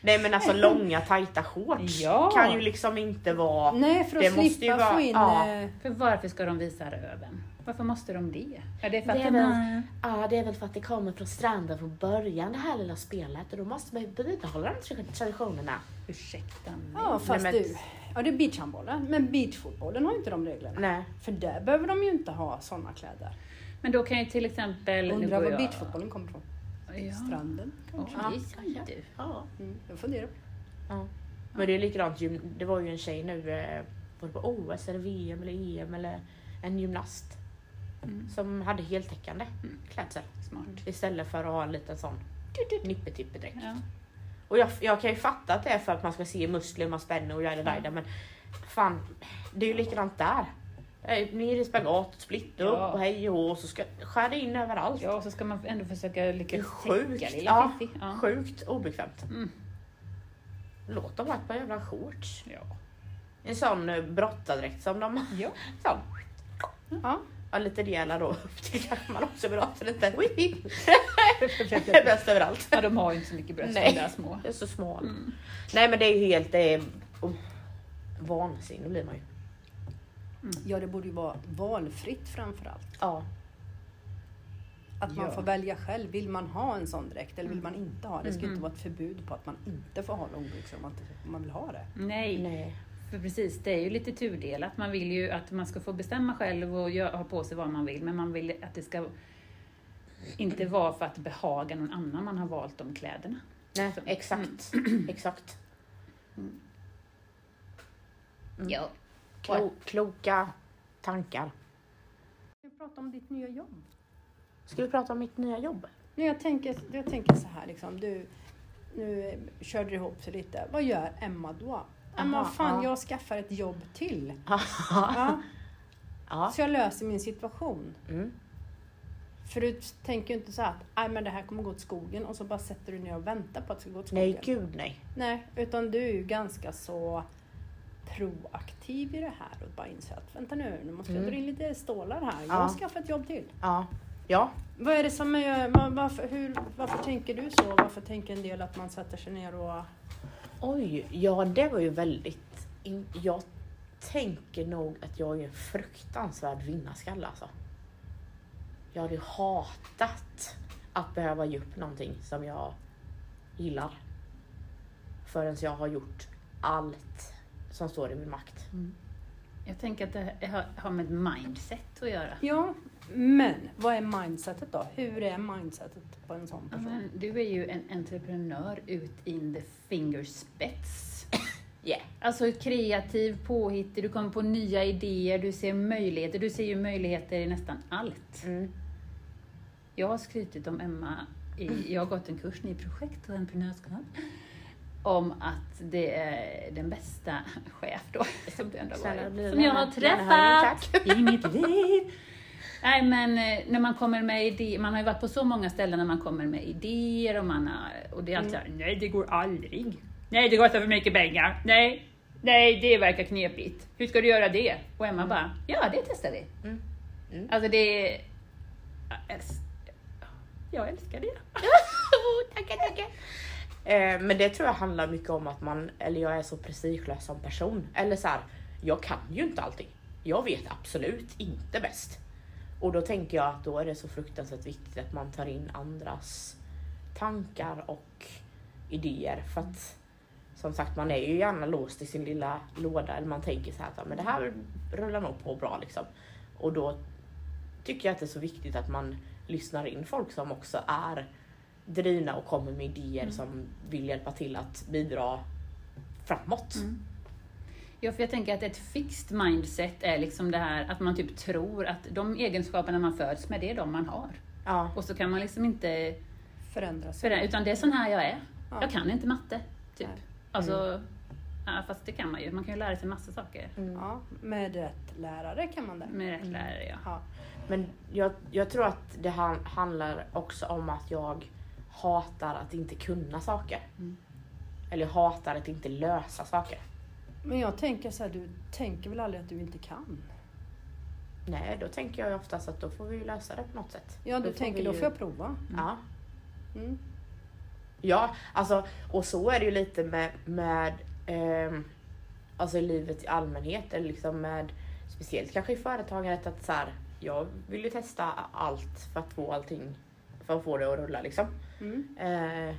A: Nej men alltså långa tajta shorts
B: Ja.
A: kan ju liksom inte vara...
C: Nej, för att
A: Det måste ju
C: slippa
A: vara-
C: få in...
A: ja.
C: eh,
B: För varför ska de visa röven? Varför måste de det? Ja, det är för att
A: Det är
B: den
A: väl-
B: har-
A: Ja det är väl för att det kommer från stranden från början det här lilla spelet och då måste man ju bibehålla de tra- traditionerna.
B: Ursäkta mig.
C: Ja, fast
A: men-
C: du. Ja, det är beachhandbollen. Men beachfotbollen har ju inte de reglerna.
A: Nej.
C: För där behöver de ju inte ha sådana kläder.
B: Men då kan ju till exempel... nu
C: Undrar
B: går
C: var
B: jag-
C: beachfotbollen kommer ifrån?
B: Ja.
C: Stranden?
B: Oj, oj, du.
A: Ja.
C: Mm, jag funderar.
A: ja. Men det är likadant, gym- det var ju en tjej nu, eh, var det på OS eller VM eller EM eller en gymnast
B: Mm.
A: som hade heltäckande
B: Mm.
A: klädsel
B: Smart.
A: istället för att ha en liten sån nippetippedräkt.
B: Ja.
A: Och jag, jag kan ju fatta att det är för att man ska se muskler, man spänner och jada jada men fan, det är ju likadant där. Eh, Ner i spagat, split upp
B: Ja.
A: och hej och hå, och så ska skär det in överallt.
B: ja, och så ska man ändå försöka
A: Det är
B: lyckas
A: sjukt,
B: täcka
A: ja.
B: lilla Fiffi. Ja.
A: Sjukt obekvämt.
B: Mm.
A: Låt dem ha ett par jävla shorts.
B: Ja.
A: En sån eh, brottardräkt som de
B: Ja.
A: sån.
C: Ja.
A: Ja, lite rejäla då upp till kanske man också vill ha så det inte Wii!
B: Försöka-
A: Det är bäst överallt.
B: ja, de har ju inte så mycket bröst,
A: Nej.
B: de där små.
A: Jag är så smal.
B: Mm.
A: Nej men det är ju helt det är, oh, vansinnig blir man ju.
C: Ja, det borde ju vara valfritt framför allt.
A: Ja.
C: Att man
B: Ja.
C: får välja själv. Vill man ha en sån dräkt eller vill man inte ha det? Det ska ju inte vara ett förbud på att man inte får ha långbyxor om man, inte, om man vill ha det.
B: Nej.
A: Nej.
B: För precis, det är ju lite tudelat. Man vill ju att man ska få bestämma själv och gö- ha på sig vad man vill, men man vill att det ska inte vara för att behaga någon annan man har valt de kläderna.
A: Nej,
B: Så.
A: exakt. exakt. Mm.
B: Ja.
A: Klo, kloka tankar.
C: Ska vi prata om ditt nya jobb?
A: Ska vi prata om mitt nya jobb?
C: Nej, jag, tänker, jag tänker så här liksom. Du, nu eh, körde du ihop sig lite. Vad gör Emma då? Ja, men
A: Aha,
C: vad fan,
A: ja.
C: jag skaffar ett jobb till.
A: ja.
C: Ja, så jag löser min situation.
A: Mm.
C: För du tänker ju inte så här att "Aj, men det här kommer gå åt skogen och så bara sätter du ner och väntar på att det ska gå åt skogen.
A: Nej, gud nej.
C: Nej, utan du är ju ganska så proaktiv i det här och bara inser att vänta nu, nu måste jag
A: Mm.
C: dra in lite stålar här.
A: Ja.
C: Jag ska skaffa ett jobb till.
A: Ja. Ja.
C: Vad är det som gör, va- varför, hur, varför tänker du så? Varför tänker en del att man sätter sig ner och...
A: Oj, ja det var ju väldigt... In... Jag tänker nog att jag är en fruktansvärd vinnarskalle alltså. Jag hade ju hatat att behöva ge upp någonting som jag gillar. Förrän jag har gjort allt som står i min makt.
B: Mm. Jag tänker att det har- har med mindset att göra.
C: Ja, men vad är mindsetet då? Hur är mindsetet på en sån
B: Ja,
C: person?
B: men du är ju en entreprenör ut in the fingerspets.
A: Yeah.
B: Alltså kreativ, påhittig, du kommer på nya idéer, du ser möjligheter. Du ser ju möjligheter i nästan allt.
A: Mm.
B: Jag har skrytit om Emma, i, jag har gått en kurs i projekt och entreprenörskap, om att det är den bästa chef då, som du ändå har
A: Snälla, bli
B: varit, som jag
A: vänner.
B: har
A: Vänner,
B: träffat i mitt liv. Nej men eh, när man kommer med idéer, man har ju varit på så många ställen när man kommer med
A: Mm.
B: idéer och man har, och det är alltid såhär, nej det går aldrig. Nej det kostar för mycket pengar. Nej, nej det verkar knepigt, hur ska du göra det? Och Emma bara, ja det testar vi.
A: Mm. Mm.
B: Alltså det är... Jag älsk- Jag älskar det.
A: tackar, tackar. Eh, men det tror jag handlar mycket om att man, eller jag är så prestigelös som person. Eller så här, jag kan ju inte allting. Jag vet absolut inte bäst. Och då tänker jag att då är det så fruktansvärt viktigt att man tar in andras tankar och idéer. För att som sagt, man är ju gärna låst i sin lilla låda. Eller man tänker så här, att "Ja, men det här rullar nog på bra liksom. Och då tycker jag att det är så viktigt att man lyssnar in folk som också är drivna och kommer med idéer som vill hjälpa till att bidra framåt.
B: Mm. Ja, för jag tänker att ett fixed mindset är liksom det här att man typ tror att de egenskaperna man föds med, det är de man har.
A: Ja.
B: Och så kan man liksom inte
C: Förändras.
B: förändra, utan det är sån här jag är.
C: Ja.
B: Jag kan inte matte, typ.
C: Nej.
B: Alltså, ja, fast det kan man ju. Man kan ju lära sig massa saker
C: Ja, med rätt lärare kan man det.
B: med rätt lärare. Mm, Ja.
C: Ja.
A: Men jag, jag tror att det han- handlar också om att jag hatar att inte kunna saker.
C: Mm.
A: Eller jag hatar att inte lösa saker.
C: Men jag tänker så här, du tänker väl aldrig att du inte kan?
A: Nej, då tänker jag ju oftast att då får vi ju lösa det på något sätt.
C: Ja, du
A: får
C: tänker
A: vi
C: då
A: ju-
C: får jag prova.
A: Ja.
C: Mm.
A: Ja, alltså och så är det ju lite med, med ehm, alltså i livet i allmänhet eller liksom med speciellt kanske i företagandet att så här, jag vill ju testa allt för att få allting, för att få det att rulla liksom.
C: Mm.
A: Eh,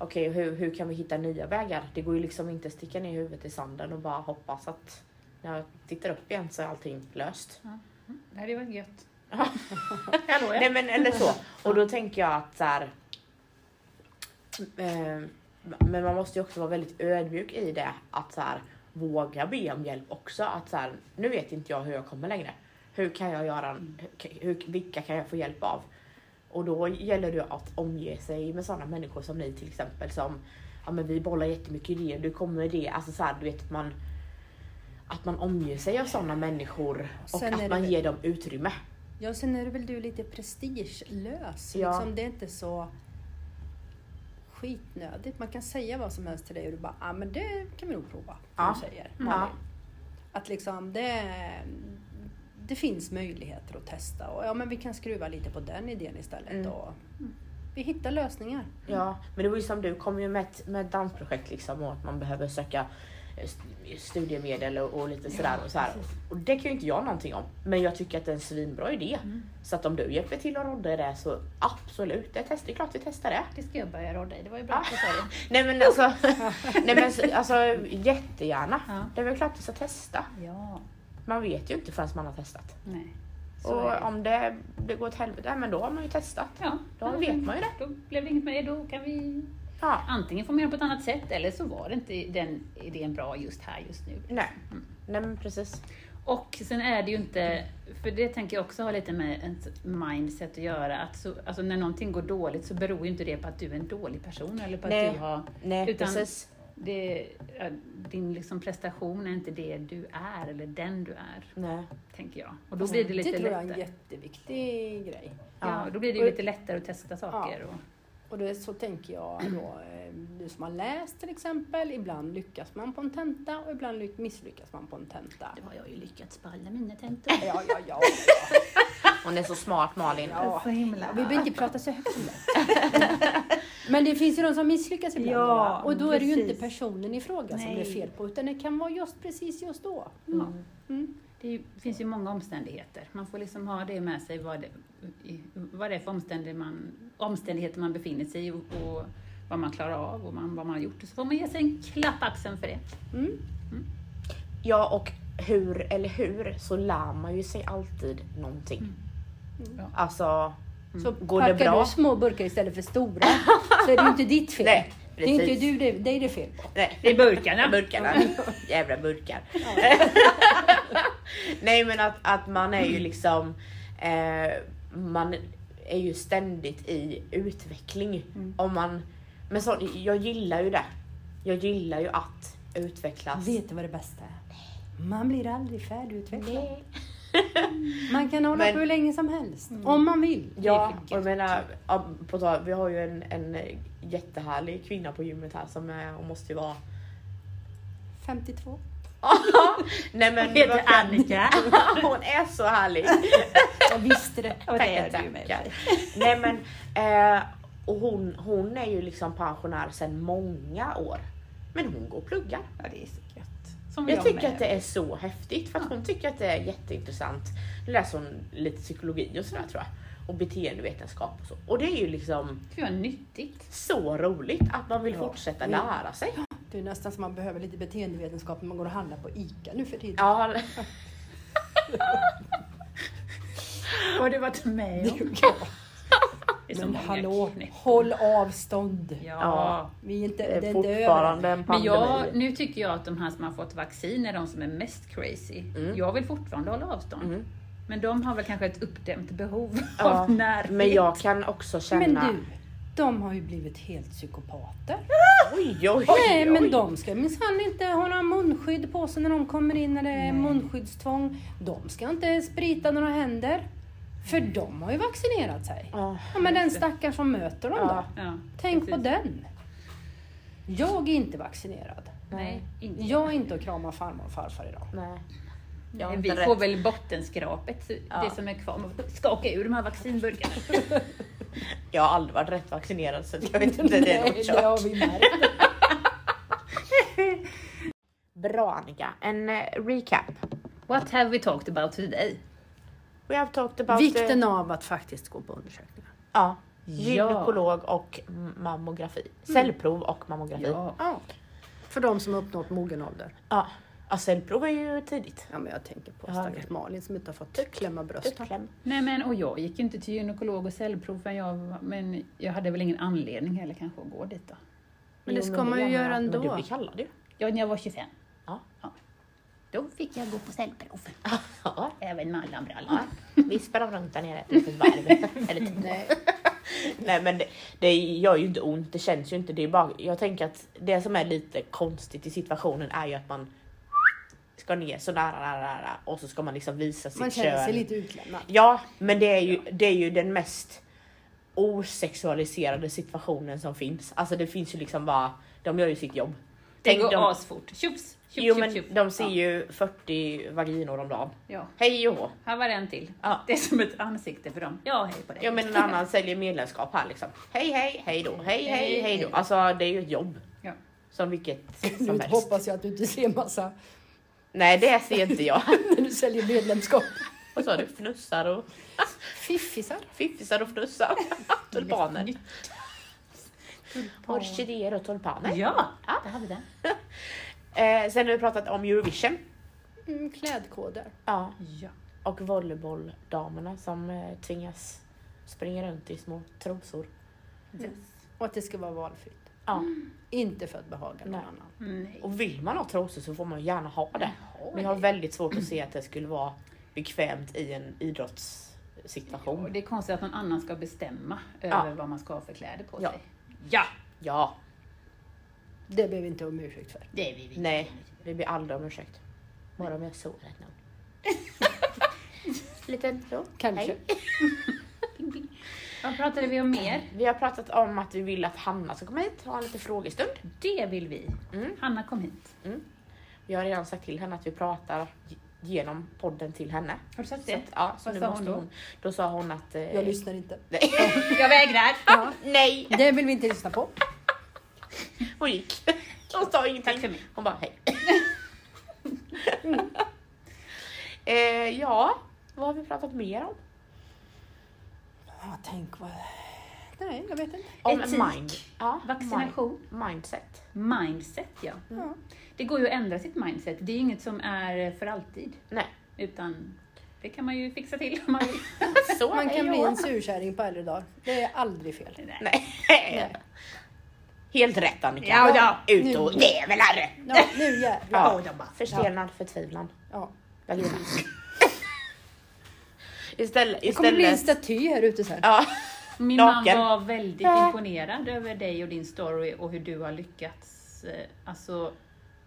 A: Okej, hur, hur kan vi hitta nya vägar? Det går ju liksom inte att sticka ner huvudet i sanden och bara hoppas att när jag tittar upp igen så är allting löst.
B: Det hade ju varit gött.
A: Ja.
B: Hallå, ja.
A: Nej men eller så. Och då tänker jag att så här. Eh, men man måste ju också vara väldigt ödmjuk i det. Att så här, våga be om hjälp också. Att så här, nu vet inte jag hur jag kommer längre. Hur kan jag göra? en- hur- Hur, vilka kan jag få hjälp av? Och då gäller det att omge sig med sådana människor som ni till exempel som ja men vi bollar jättemycket idéer, du kommer med det. Alltså så här, du vet att man att man omger sig av sådana människor och
C: Sen är det
A: att man
C: väl-
A: ger dem utrymme.
C: Ja, sen är det väl du lite prestigelös.
A: Ja.
C: Liksom, det är inte så skitnödigt. Man kan säga vad som helst till dig och du bara, ja ah, men det kan vi nog prova. som
A: Ja. Mm.
C: du Säger.
A: Ja.
C: Att liksom det, det finns möjligheter att testa och ja men vi kan skruva lite på den idén istället.
A: Mm.
C: Och vi hittar lösningar.
B: Mm.
A: Ja, men det var ju som du kom ju med ett, med ett dansprojekt liksom och att man behöver söka eh, st- studiemedel och, och lite sådär och så här. Och det kan ju inte jag någonting om. Men jag tycker att det är en svinbra idé.
B: Mm.
A: Så att om du hjälper till att rodda i det så absolut, det, test, det är klart vi testar det.
B: Det ska jag börja rodda i. Det var ju bra att du sa det.
A: Nej men alltså, nej, men, så- alltså jättegärna.
B: Ja.
A: Det är väl klart vi ska testa.
B: Ja,
A: Man vet ju inte förrän man har testat.
B: nej. Så är det.
A: och om det, det går åt helvete, men då har man ju testat.
B: Ja,
A: Då vet man ju det.
B: Då blev det inget med det. Då kan vi
A: Ja.
B: antingen få med det på ett annat sätt eller så var det inte den idén bra just här, just nu.
A: Nej.
B: Mm.
A: nej men precis.
B: Och sen är det ju inte, för det tänker jag också ha lite med ens mindset att göra, att så, alltså när någonting går dåligt så beror ju inte det på att du är en dålig person eller på att
A: Nej.
B: du har,
A: Nej
B: Utan-
A: precis.
B: det, ja, din liksom prestation är inte det du är eller den du är,
A: Nej.
B: tänker jag. Och då blir det lite
C: det tror jag är en
B: lättare.
C: jätteviktig grej.
B: Ja, och då blir det ju lite lättare att testa saker. Och,
C: Och det, så tänker jag då, eh, du som har läst till exempel, ibland lyckas man på en tenta och ibland lyck- misslyckas man på en tenta.
B: då har jag ju lyckats på alla mina tentor.
C: Ja, ja, ja.
A: Hon är så smart Malin.
C: ja.
B: Så himla.
C: Vi behöver inte prata så högt om det. Men det finns ju de som misslyckas ibland.
B: Ja,
C: va? och då är det ju
B: precis.
C: inte personen i fråga som
B: Nej.
C: det är fel på, utan det kan vara just precis just då.
B: Ja.
C: Mm.
B: Det är ju- finns ju många omständigheter. Man får liksom ha det med sig, vad det, i- vad det är för omständigheter man, omständigheter man befinner sig i och, och vad man klarar av och man, vad man har gjort. Så får man ge sig en klapp på axeln för det.
A: Ja och hur eller hur så lär man ju sig alltid någonting.
B: Mm. Ja.
A: Alltså,
C: Så
A: Går det
C: packar
A: bra?
C: du små burkar istället för stora så är det ju inte ditt fel.
A: Nej,
C: det är inte
A: precis.
C: du, det, det är det fel på.
A: nej,
B: Det är burkarna.
A: burkarna. Jävla burkar. nej men att, att man är ju liksom, eh, man är ju ständigt i utveckling.
C: Mm.
A: Om man, men så, jag gillar ju det. Jag gillar ju att utvecklas.
C: Vet du vad det bästa är? Man blir aldrig färdigutvecklad.
A: Nej.
C: Man kan hålla
A: Men-
C: på hur länge som helst, om man vill.
A: Ja,
B: Det är för
A: och jag menar, ja, på tal, vi har ju en, en jättehärlig kvinna på gymmet här som är, hon måste ju vara
C: 52.
A: Nej men
B: Hon heter
A: vad-
B: Annika.
A: hon är så härlig.
C: Jag visste det. Och det är du ju med.
A: Tackar. Nej men, eh, och hon, hon är ju liksom pensionär sedan många år. Men hon går och pluggar.
B: Ja, det är så gött. Som
A: Jag tycker
B: med.
A: att det är så häftigt för att hon tycker att det är jätteintressant. Nu läser hon lite psykologi och sådär tror jag. Och beteendevetenskap och så. Och det är ju liksom
B: Gud vad nyttigt.
A: så roligt att man vill
C: Ja.
A: fortsätta
C: Mm.
A: lära sig.
C: Det är nästan som man behöver lite beteendevetenskap när man går och handlar på ICA nu för tiden.
A: Ja,
B: Har du varit med om?
C: Ja.
B: Det är så
C: Men
B: många
C: hallå,
B: knep.
C: håll avstånd.
B: Ja.
A: Ja.
C: Vi är inte,
A: det är
C: det är inte över.
A: Eh, fortfarande en
B: Men
A: pandemi.
B: jag, nu tycker jag att de här som har fått vaccin är de som är mest crazy.
A: Mm.
B: Jag vill fortfarande hålla avstånd.
A: Mm.
B: Men de har väl kanske ett uppdämt behov
A: Ja,
B: av närhet.
A: Men jag kan också
C: Men
A: känna...
C: du, de har ju blivit helt psykopater.
A: Oj, oj,
C: Nej,
A: oj.
C: men de ska minsann inte ha några munskydd på sig när de kommer in när det är
B: Nej.
C: munskyddstvång. De ska inte sprita några händer. För de har ju vaccinerat sig.
A: Ja.
C: Ja, men den stackaren som möter dem då?
A: Ja.
B: Ja,
C: Tänk
B: precis.
C: på den. Jag är inte vaccinerad.
B: Nej, inte.
C: Jag är inte och kramar farmor och farfar idag.
A: Nej.
B: Nej,
A: har
B: vi
A: inte
B: får
A: rätt.
B: väl bottenskrapet, det
C: Ja.
B: som är kvar. Man får skaka ur de här vaccinburkarna.
A: Jag har aldrig varit rätt vaccinerad så jag vet inte. det är
C: Nej,
A: något
C: det
A: kört.
C: har vi märkt.
A: Bra Annika, en eh, recap.
B: What have we talked about today?
A: We have talked about... eh,
C: Vikten av att faktiskt gå på undersökningar.
A: Ja. Gynekolog och m- mammografi. Cellprov och mammografi. Ja.
B: Ja.
C: Mm. Ja. För de som har uppnått mogen ålder.
A: Ja, cellprov är ju tidigt.
C: Ja, men jag tänker på
A: Ja,
C: stackars Malin som inte har fått klämma bröstet.
A: Tuppkläm.
B: Nej men, och jag gick inte till gynekolog och cellprov förrän jag var- men jag hade väl ingen anledning heller kanske att gå dit då.
C: Men det
A: Jo,
C: ska man ju
A: gärna.
C: göra ändå.
A: Men du blir kallad ju.
B: Ja, när jag var 25.
A: Ja.
B: Då fick jag gå på cellprov.
A: Ja,
B: Även med alla brallor.
A: ja. vi sprang runt där nere ett litet varv. Eller två.
C: Nej.
A: Nej men det, det gör ju inte ont, det känns ju inte. Det är bara, jag tänker att det som är lite konstigt i situationen är ju att man ska ner så nära, nära, nära och så ska man liksom visa sitt
C: Man
A: kön.
C: känner sig lite utlämnad.
A: Ja, men det är, ju, det är ju den mest osexualiserade situationen som finns. Alltså det finns ju liksom bara, de gör ju sitt jobb.
B: Det
A: Tänk
B: går
A: de,
B: asfort. Tjofs, tjoff,
A: jo
B: tjoff,
A: men
B: tjoff.
A: de ser
B: ja.
A: ju 40 vaginor om dagen.
B: Ja.
A: Hej och hå.
B: Här var en till.
A: Ja.
B: Det är som ett ansikte för dem. Ja, hej på dig.
A: Ja men en annan säljer medlemskap här liksom. Hej hej, hej då, hej hej, hej då. Alltså det är ju ett jobb.
B: Ja.
A: Som vilket som
C: Nu
A: helst.
C: hoppas jag att du inte ser massa
A: Nej det ser inte jag.
C: när du säljer medlemskap.
A: Vad sa du? Fnussar och
C: Fiffisar.
A: fiffisar och fnussar. Tulpaner. Orkidéer och tulpaner.
B: Ja,
A: Ja.
B: där har vi den.
A: Eh, sen har vi pratat om Eurovision.
C: Mm, klädkoder.
A: Ja.
B: Ja.
A: Och volleybolldamerna som eh, tvingas springa runt i små trosor.
C: Och att det ska vara valfritt.
A: Ja.
C: Inte för att behaga någon
A: Nej.
C: annan.
B: Nej.
A: Och vill man ha trosor så får man gärna ha det. Men jag har väldigt svårt att se att det skulle vara bekvämt i en
B: Och
A: idrottssituation.
B: det är konstigt att någon annan ska bestämma
A: Ja.
B: över vad man ska ha för kläder på
A: Ja.
B: sig. Ja,
A: Ja,
C: Det behöver vi inte om ursäkt för.
B: det är vi. vi.
A: nej, vi ber aldrig om ursäkt. Bara om jag sårat någon. Liten så.
C: Kanske.
A: Hej.
B: Vad pratade vi om mer?
A: Vi har pratat om att vi vill att Hanna ska komma hit och ha lite frågestund.
B: Det vill vi.
A: Mm.
B: Hanna kom hit.
A: Vi har redan sagt till henne att vi pratar ge- genom podden till henne.
B: Har du sett
A: Så
B: det?
A: att, ja, så
B: Vad
A: nu
B: sa hon
A: måste
B: då?
A: hon Då sa hon att... eh,
C: Jag lyssnar inte.
A: nej.
B: Jag vägrar.
C: Ja,
A: nej!
C: det vill vi inte lyssna på.
A: Hon gick. Hon sa ingenting.
B: Tack för mig.
A: Hon bara hej. eh, ja, vad har vi pratat mer om?
C: Ja, tänk vad... Nej, jag vet inte.
A: Om
B: Etik.
A: mind. Ja,
B: Vaccination.
A: Mind, mindset.
B: Mindset, ja.
C: Ja.
B: Det går ju att ändra sitt mindset. Det är ju inget som är för alltid.
A: Nej,
B: Utan det kan man ju fixa till om man vill.
A: så
C: Man
A: hej
C: kan bli
A: då.
C: en surkärring på äldre dagar. Det är aldrig fel.
A: Nej. Helt rätt Annika.
B: Ja, ja.
A: Ut och
C: Nu.
A: jävlar!
C: Ja, nu jävlar.
A: Ja.
B: de bara.
A: Förstelnad förtvivlan.
C: Ja.
A: Vagina. istället,
C: Det kommer bli en
A: istället.
C: staty här ute sen.
A: Ja,
B: Min
A: Naken.
B: man var väldigt
A: Äh.
B: imponerad över dig och din story och hur du har lyckats. eh, Alltså,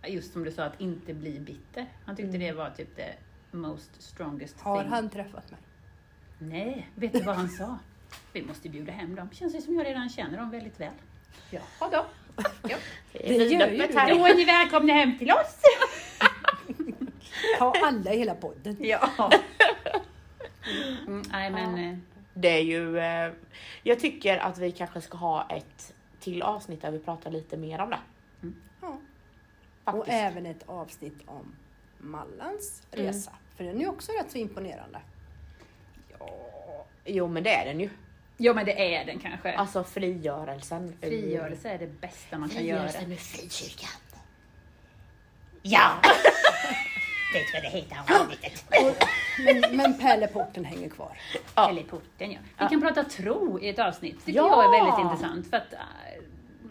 B: just som du sa, att inte bli bitter. Han tyckte det var typ det most strongest
C: Mm. Har
B: thing.
C: han träffat mig?
B: Nej, vet du vad han sa? Vi måste bjuda hem dem. Känns det som jag redan känner dem väldigt väl.
C: Ja.
B: Ja då.
A: Det är
D: gör
A: vidöppet
D: ju det.
A: här.
B: Då är ni välkomna hem till oss!
D: Ta alla i hela podden.
B: Ja. Mm, nej men, eh,
A: Det är ju, eh, jag tycker att vi kanske ska ha ett till avsnitt där vi pratar lite mer om det.
D: Ja.
A: Faktiskt.
D: Och även ett avsnitt om Mallans resa. För den är ju också rätt så imponerande.
A: Jo men det är den ju.
B: ja men det är den kanske.
A: Alltså frigörelsen.
B: Frigörelse är det bästa man kan göra.
A: med frikyrkan.
B: Ja! Vet vad det heter avsnittet?
D: Men, men pärleporten hänger kvar.
A: Ja.
B: Eller porten ja. Vi kan prata tro i ett avsnitt. Det tycker
A: Ja.
B: jag är väldigt intressant för att eh,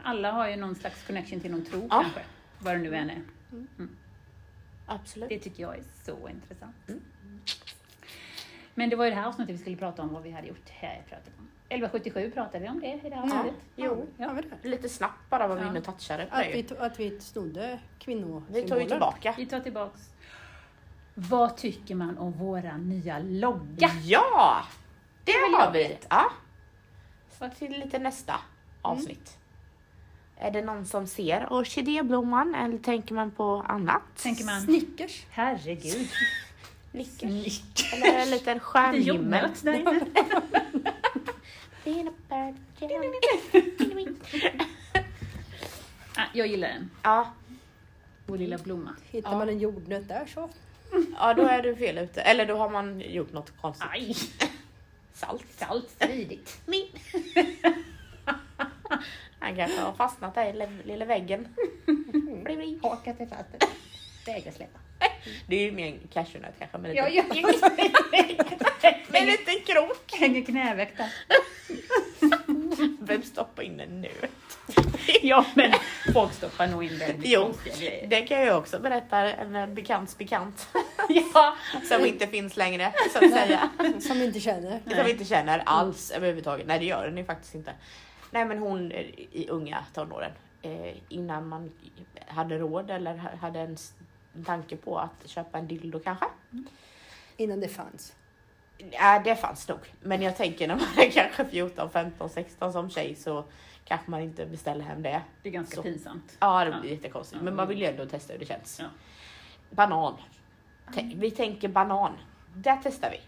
B: alla har ju någon slags connection till någon tro
A: Ja.
B: kanske. Vad det nu än är.
A: Absolut.
B: Det tycker jag är så intressant.
A: Mm.
B: Men det var ju det här avsnittet vi skulle prata om vad vi hade gjort här. Pratade om. 1177 pratade vi om det i det här avsnittet.
A: Jo.
D: Ja, men det.
A: Lite snabbt bara var vi
B: Ja.
A: inne och touchade på
D: Att,
A: det
D: vi,
A: ju.
D: to- att vi snodde kvinnosymbolen.
A: Vi tar ju tillbaka.
B: Vi tar tillbaks. Vad tycker man om våra nya logga?
A: Ja! Det
B: vill jag
A: har vi. Ja. Så till lite nästa
B: Mm.
A: avsnitt. Är det någon som ser orkidéblomman eller tänker man på annat?
B: Tänker man,
D: Snickers.
B: herregud.
A: Snickers.
B: Snick.
A: Eller en liten stjärnhimmel.
B: Jordnöt där inne.
A: Peanut butter jelly.
B: Ah, Jag gillar den.
A: Ja,
B: Vår lilla blomma.
D: Hittar man en jordnöt där så.
A: ja, då är du fel ute. Eller då har man gjort något konstigt.
B: Aj,
A: Salt.
B: salt stridigt.
A: Min. Han kanske har fastnat där i le- lilla väggen. Bli, bli.
B: Hakat sig fast. Vägra släppa.
A: Det är ju mer en cashewnöt kanske. Men
B: Ja,
A: lite,
B: ja.
A: med en liten krok.
B: Hänger knäveck där.
A: Vem stoppar in den nu?
B: Ja, men folk stoppar nog in väldigt
A: Jo.
B: konstiga grejer.
A: Det kan jag också berätta. En bekants bekant
B: Ja,
A: som inte finns längre så att säga.
D: Som vi inte känner.
A: Som vi Liksom inte känner
B: Mm.
A: alls överhuvudtaget. Nej det gör den ju faktiskt inte. Nej men hon eh, i unga tonåren. Eh, innan man hade råd eller ha- hade en s- en tanke på att köpa en dildo kanske.
D: Innan det fanns.
A: Ja, det fanns nog. Men jag tänker när man är kanske 14, 15, 16 som tjej så kanske man inte beställer hem det.
B: det är ganska
A: Så.
B: pinsamt.
A: Ja, det blir
B: Ja.
A: jättekonstigt.
B: Ja.
A: Men man vill ju ändå testa hur det känns.
B: Ja.
A: Banan.
B: Mm.
A: Tän- Vi tänker banan. Där testar vi.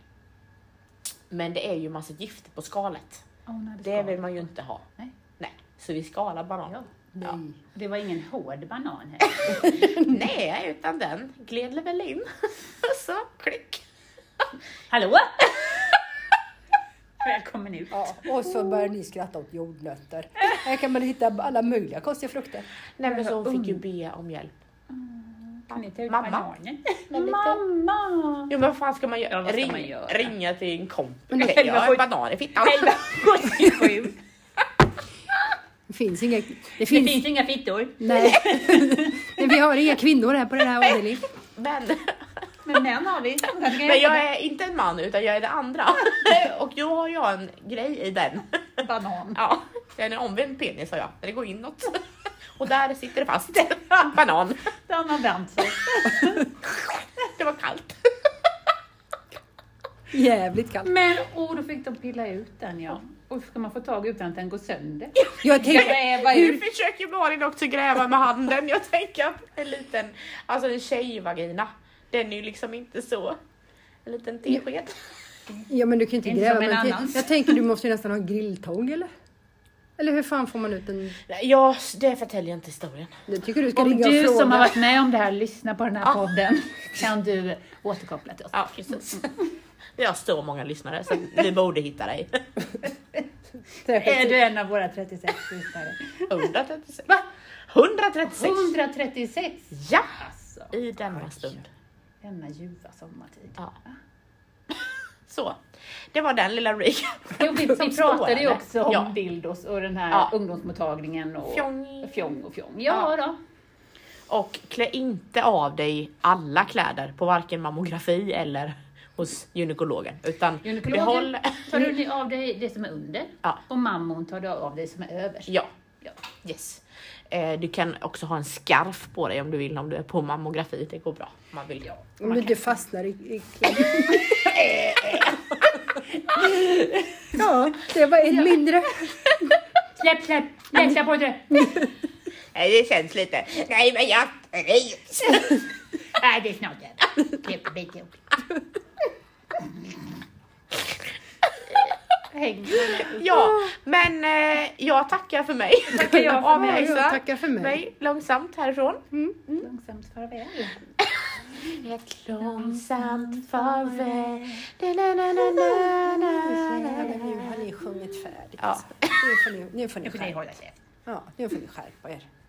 A: Men det är ju massa gifter på skalet.
B: Åh, nej,
A: Det
B: ska-
A: vill man ju inte ha.
B: Nej.
A: Nej. Så vi skalar banan.
B: Ja.
A: Ja.
D: Nej.
B: Det var ingen hård banan här.
A: Nej, utan den gled väl in. Och så klick.
B: Hallå! Välkommen ut.
D: Ja, och så börjar ni skratta åt jordnötter. Här kan man hitta alla möjliga konstiga frukter.
A: Nej men så hon fick ju
B: Mm.
A: be om hjälp.
B: Kan ni ta ut
A: Mamma.
B: bananen?
A: Men lite-
B: Mamma!
A: Jo men vad fan ska man
B: Ja,
A: göra?
B: vad ska
A: Ring,
B: man göra?
A: Ringa till en kompis?
B: Men
A: Nej, jag har
B: elva-
A: en banan i fittan.
B: 1177.
D: Det finns inga... Det
B: Det
D: finns...
B: finns inga fittor.
D: Nej. Vi har inga kvinnor här på den här avdelningen.
A: Men,
B: Men män har vi.
A: men jag är inte en man utan jag är det andra. Och då har jag en grej i den.
B: banan.
A: Ja, det är en omvänd penis har jag. Det går inåt. Och där sitter det fast. Banan.
B: Den har vänt sig.
A: Det var kallt.
D: Jävligt kallt.
B: Men åh, då fick de pilla ut den ja. Och ska man få tag i utan att den går sönder?
D: Jag tänkte...
B: Gräva
A: Nu
B: ut.
A: försöker Malin också gräva med handen. Jag tänker att en liten, alltså en tjejvagina, den är ju liksom inte så. En liten tesked.
D: Ja men du kan ju inte
B: Inte
D: gräva.
B: som en
D: men jag-
B: annans.
D: Jag tänker du måste ju nästan ha grilltång eller? Eller hur fan får man ut en...
A: Ja, det förtäljer inte historien.
D: Det tycker du ska
B: Om
D: ringa och
B: du
D: fråga.
B: som har varit med om det här lyssnar på den här
A: Ja.
B: podden kan du återkoppla till oss.
A: Ja, precis. Vi har så många lyssnare så vi borde hitta dig.
B: Är du en av våra 36 lyssnare?
A: 136.
B: Va?
A: 136!
B: 136!
A: Ja!
B: Alltså,
A: I denna stund.
B: denna ljuva sommartid.
A: Ja. Så. Det var den lilla recapen.
B: Jo, vi, vi pratade ju också om
A: Ja.
B: dildos och den här
A: Ja.
B: ungdomsmottagningen och
A: Fjong.
B: fjong och fjong. Ja, då.
A: Och klä inte av dig alla kläder på varken mammografi eller hos gynekologen. Utan
B: Gynekologen
A: behåll...
B: tar du av dig det som är under
A: Ja.
B: och mammon tar du av dig som är överst.
A: Ja.
B: Ja.
A: Yes. Eh, Du kan också ha en scarf på dig om du vill om du är på mammografi. Det går bra. om Man vill.
D: Om du inte fastnar i, i Ja, det var en mindre.
B: Släpp, släpp! Nej, släpp på inte!
A: Nej, det känns lite. Nej, men jag... Nej.
B: Nej, det är snart över. Häng
A: Ja, men eh, jag tackar för mig. Tackar
B: jag för
C: mig. Jag tackar för mig.
A: långsamt härifrån.
B: långsamt farväl.
A: Ett långsamt farväl. Da, na, na, na, na, na, na,
D: Men
A: na.
D: nu har ni sjungit färdigt.
A: Ja.
D: Nu får ni, nu får ni
B: Nu får ni
D: skärpa
B: hålla käft.
D: ja, nu får ni skärpa er.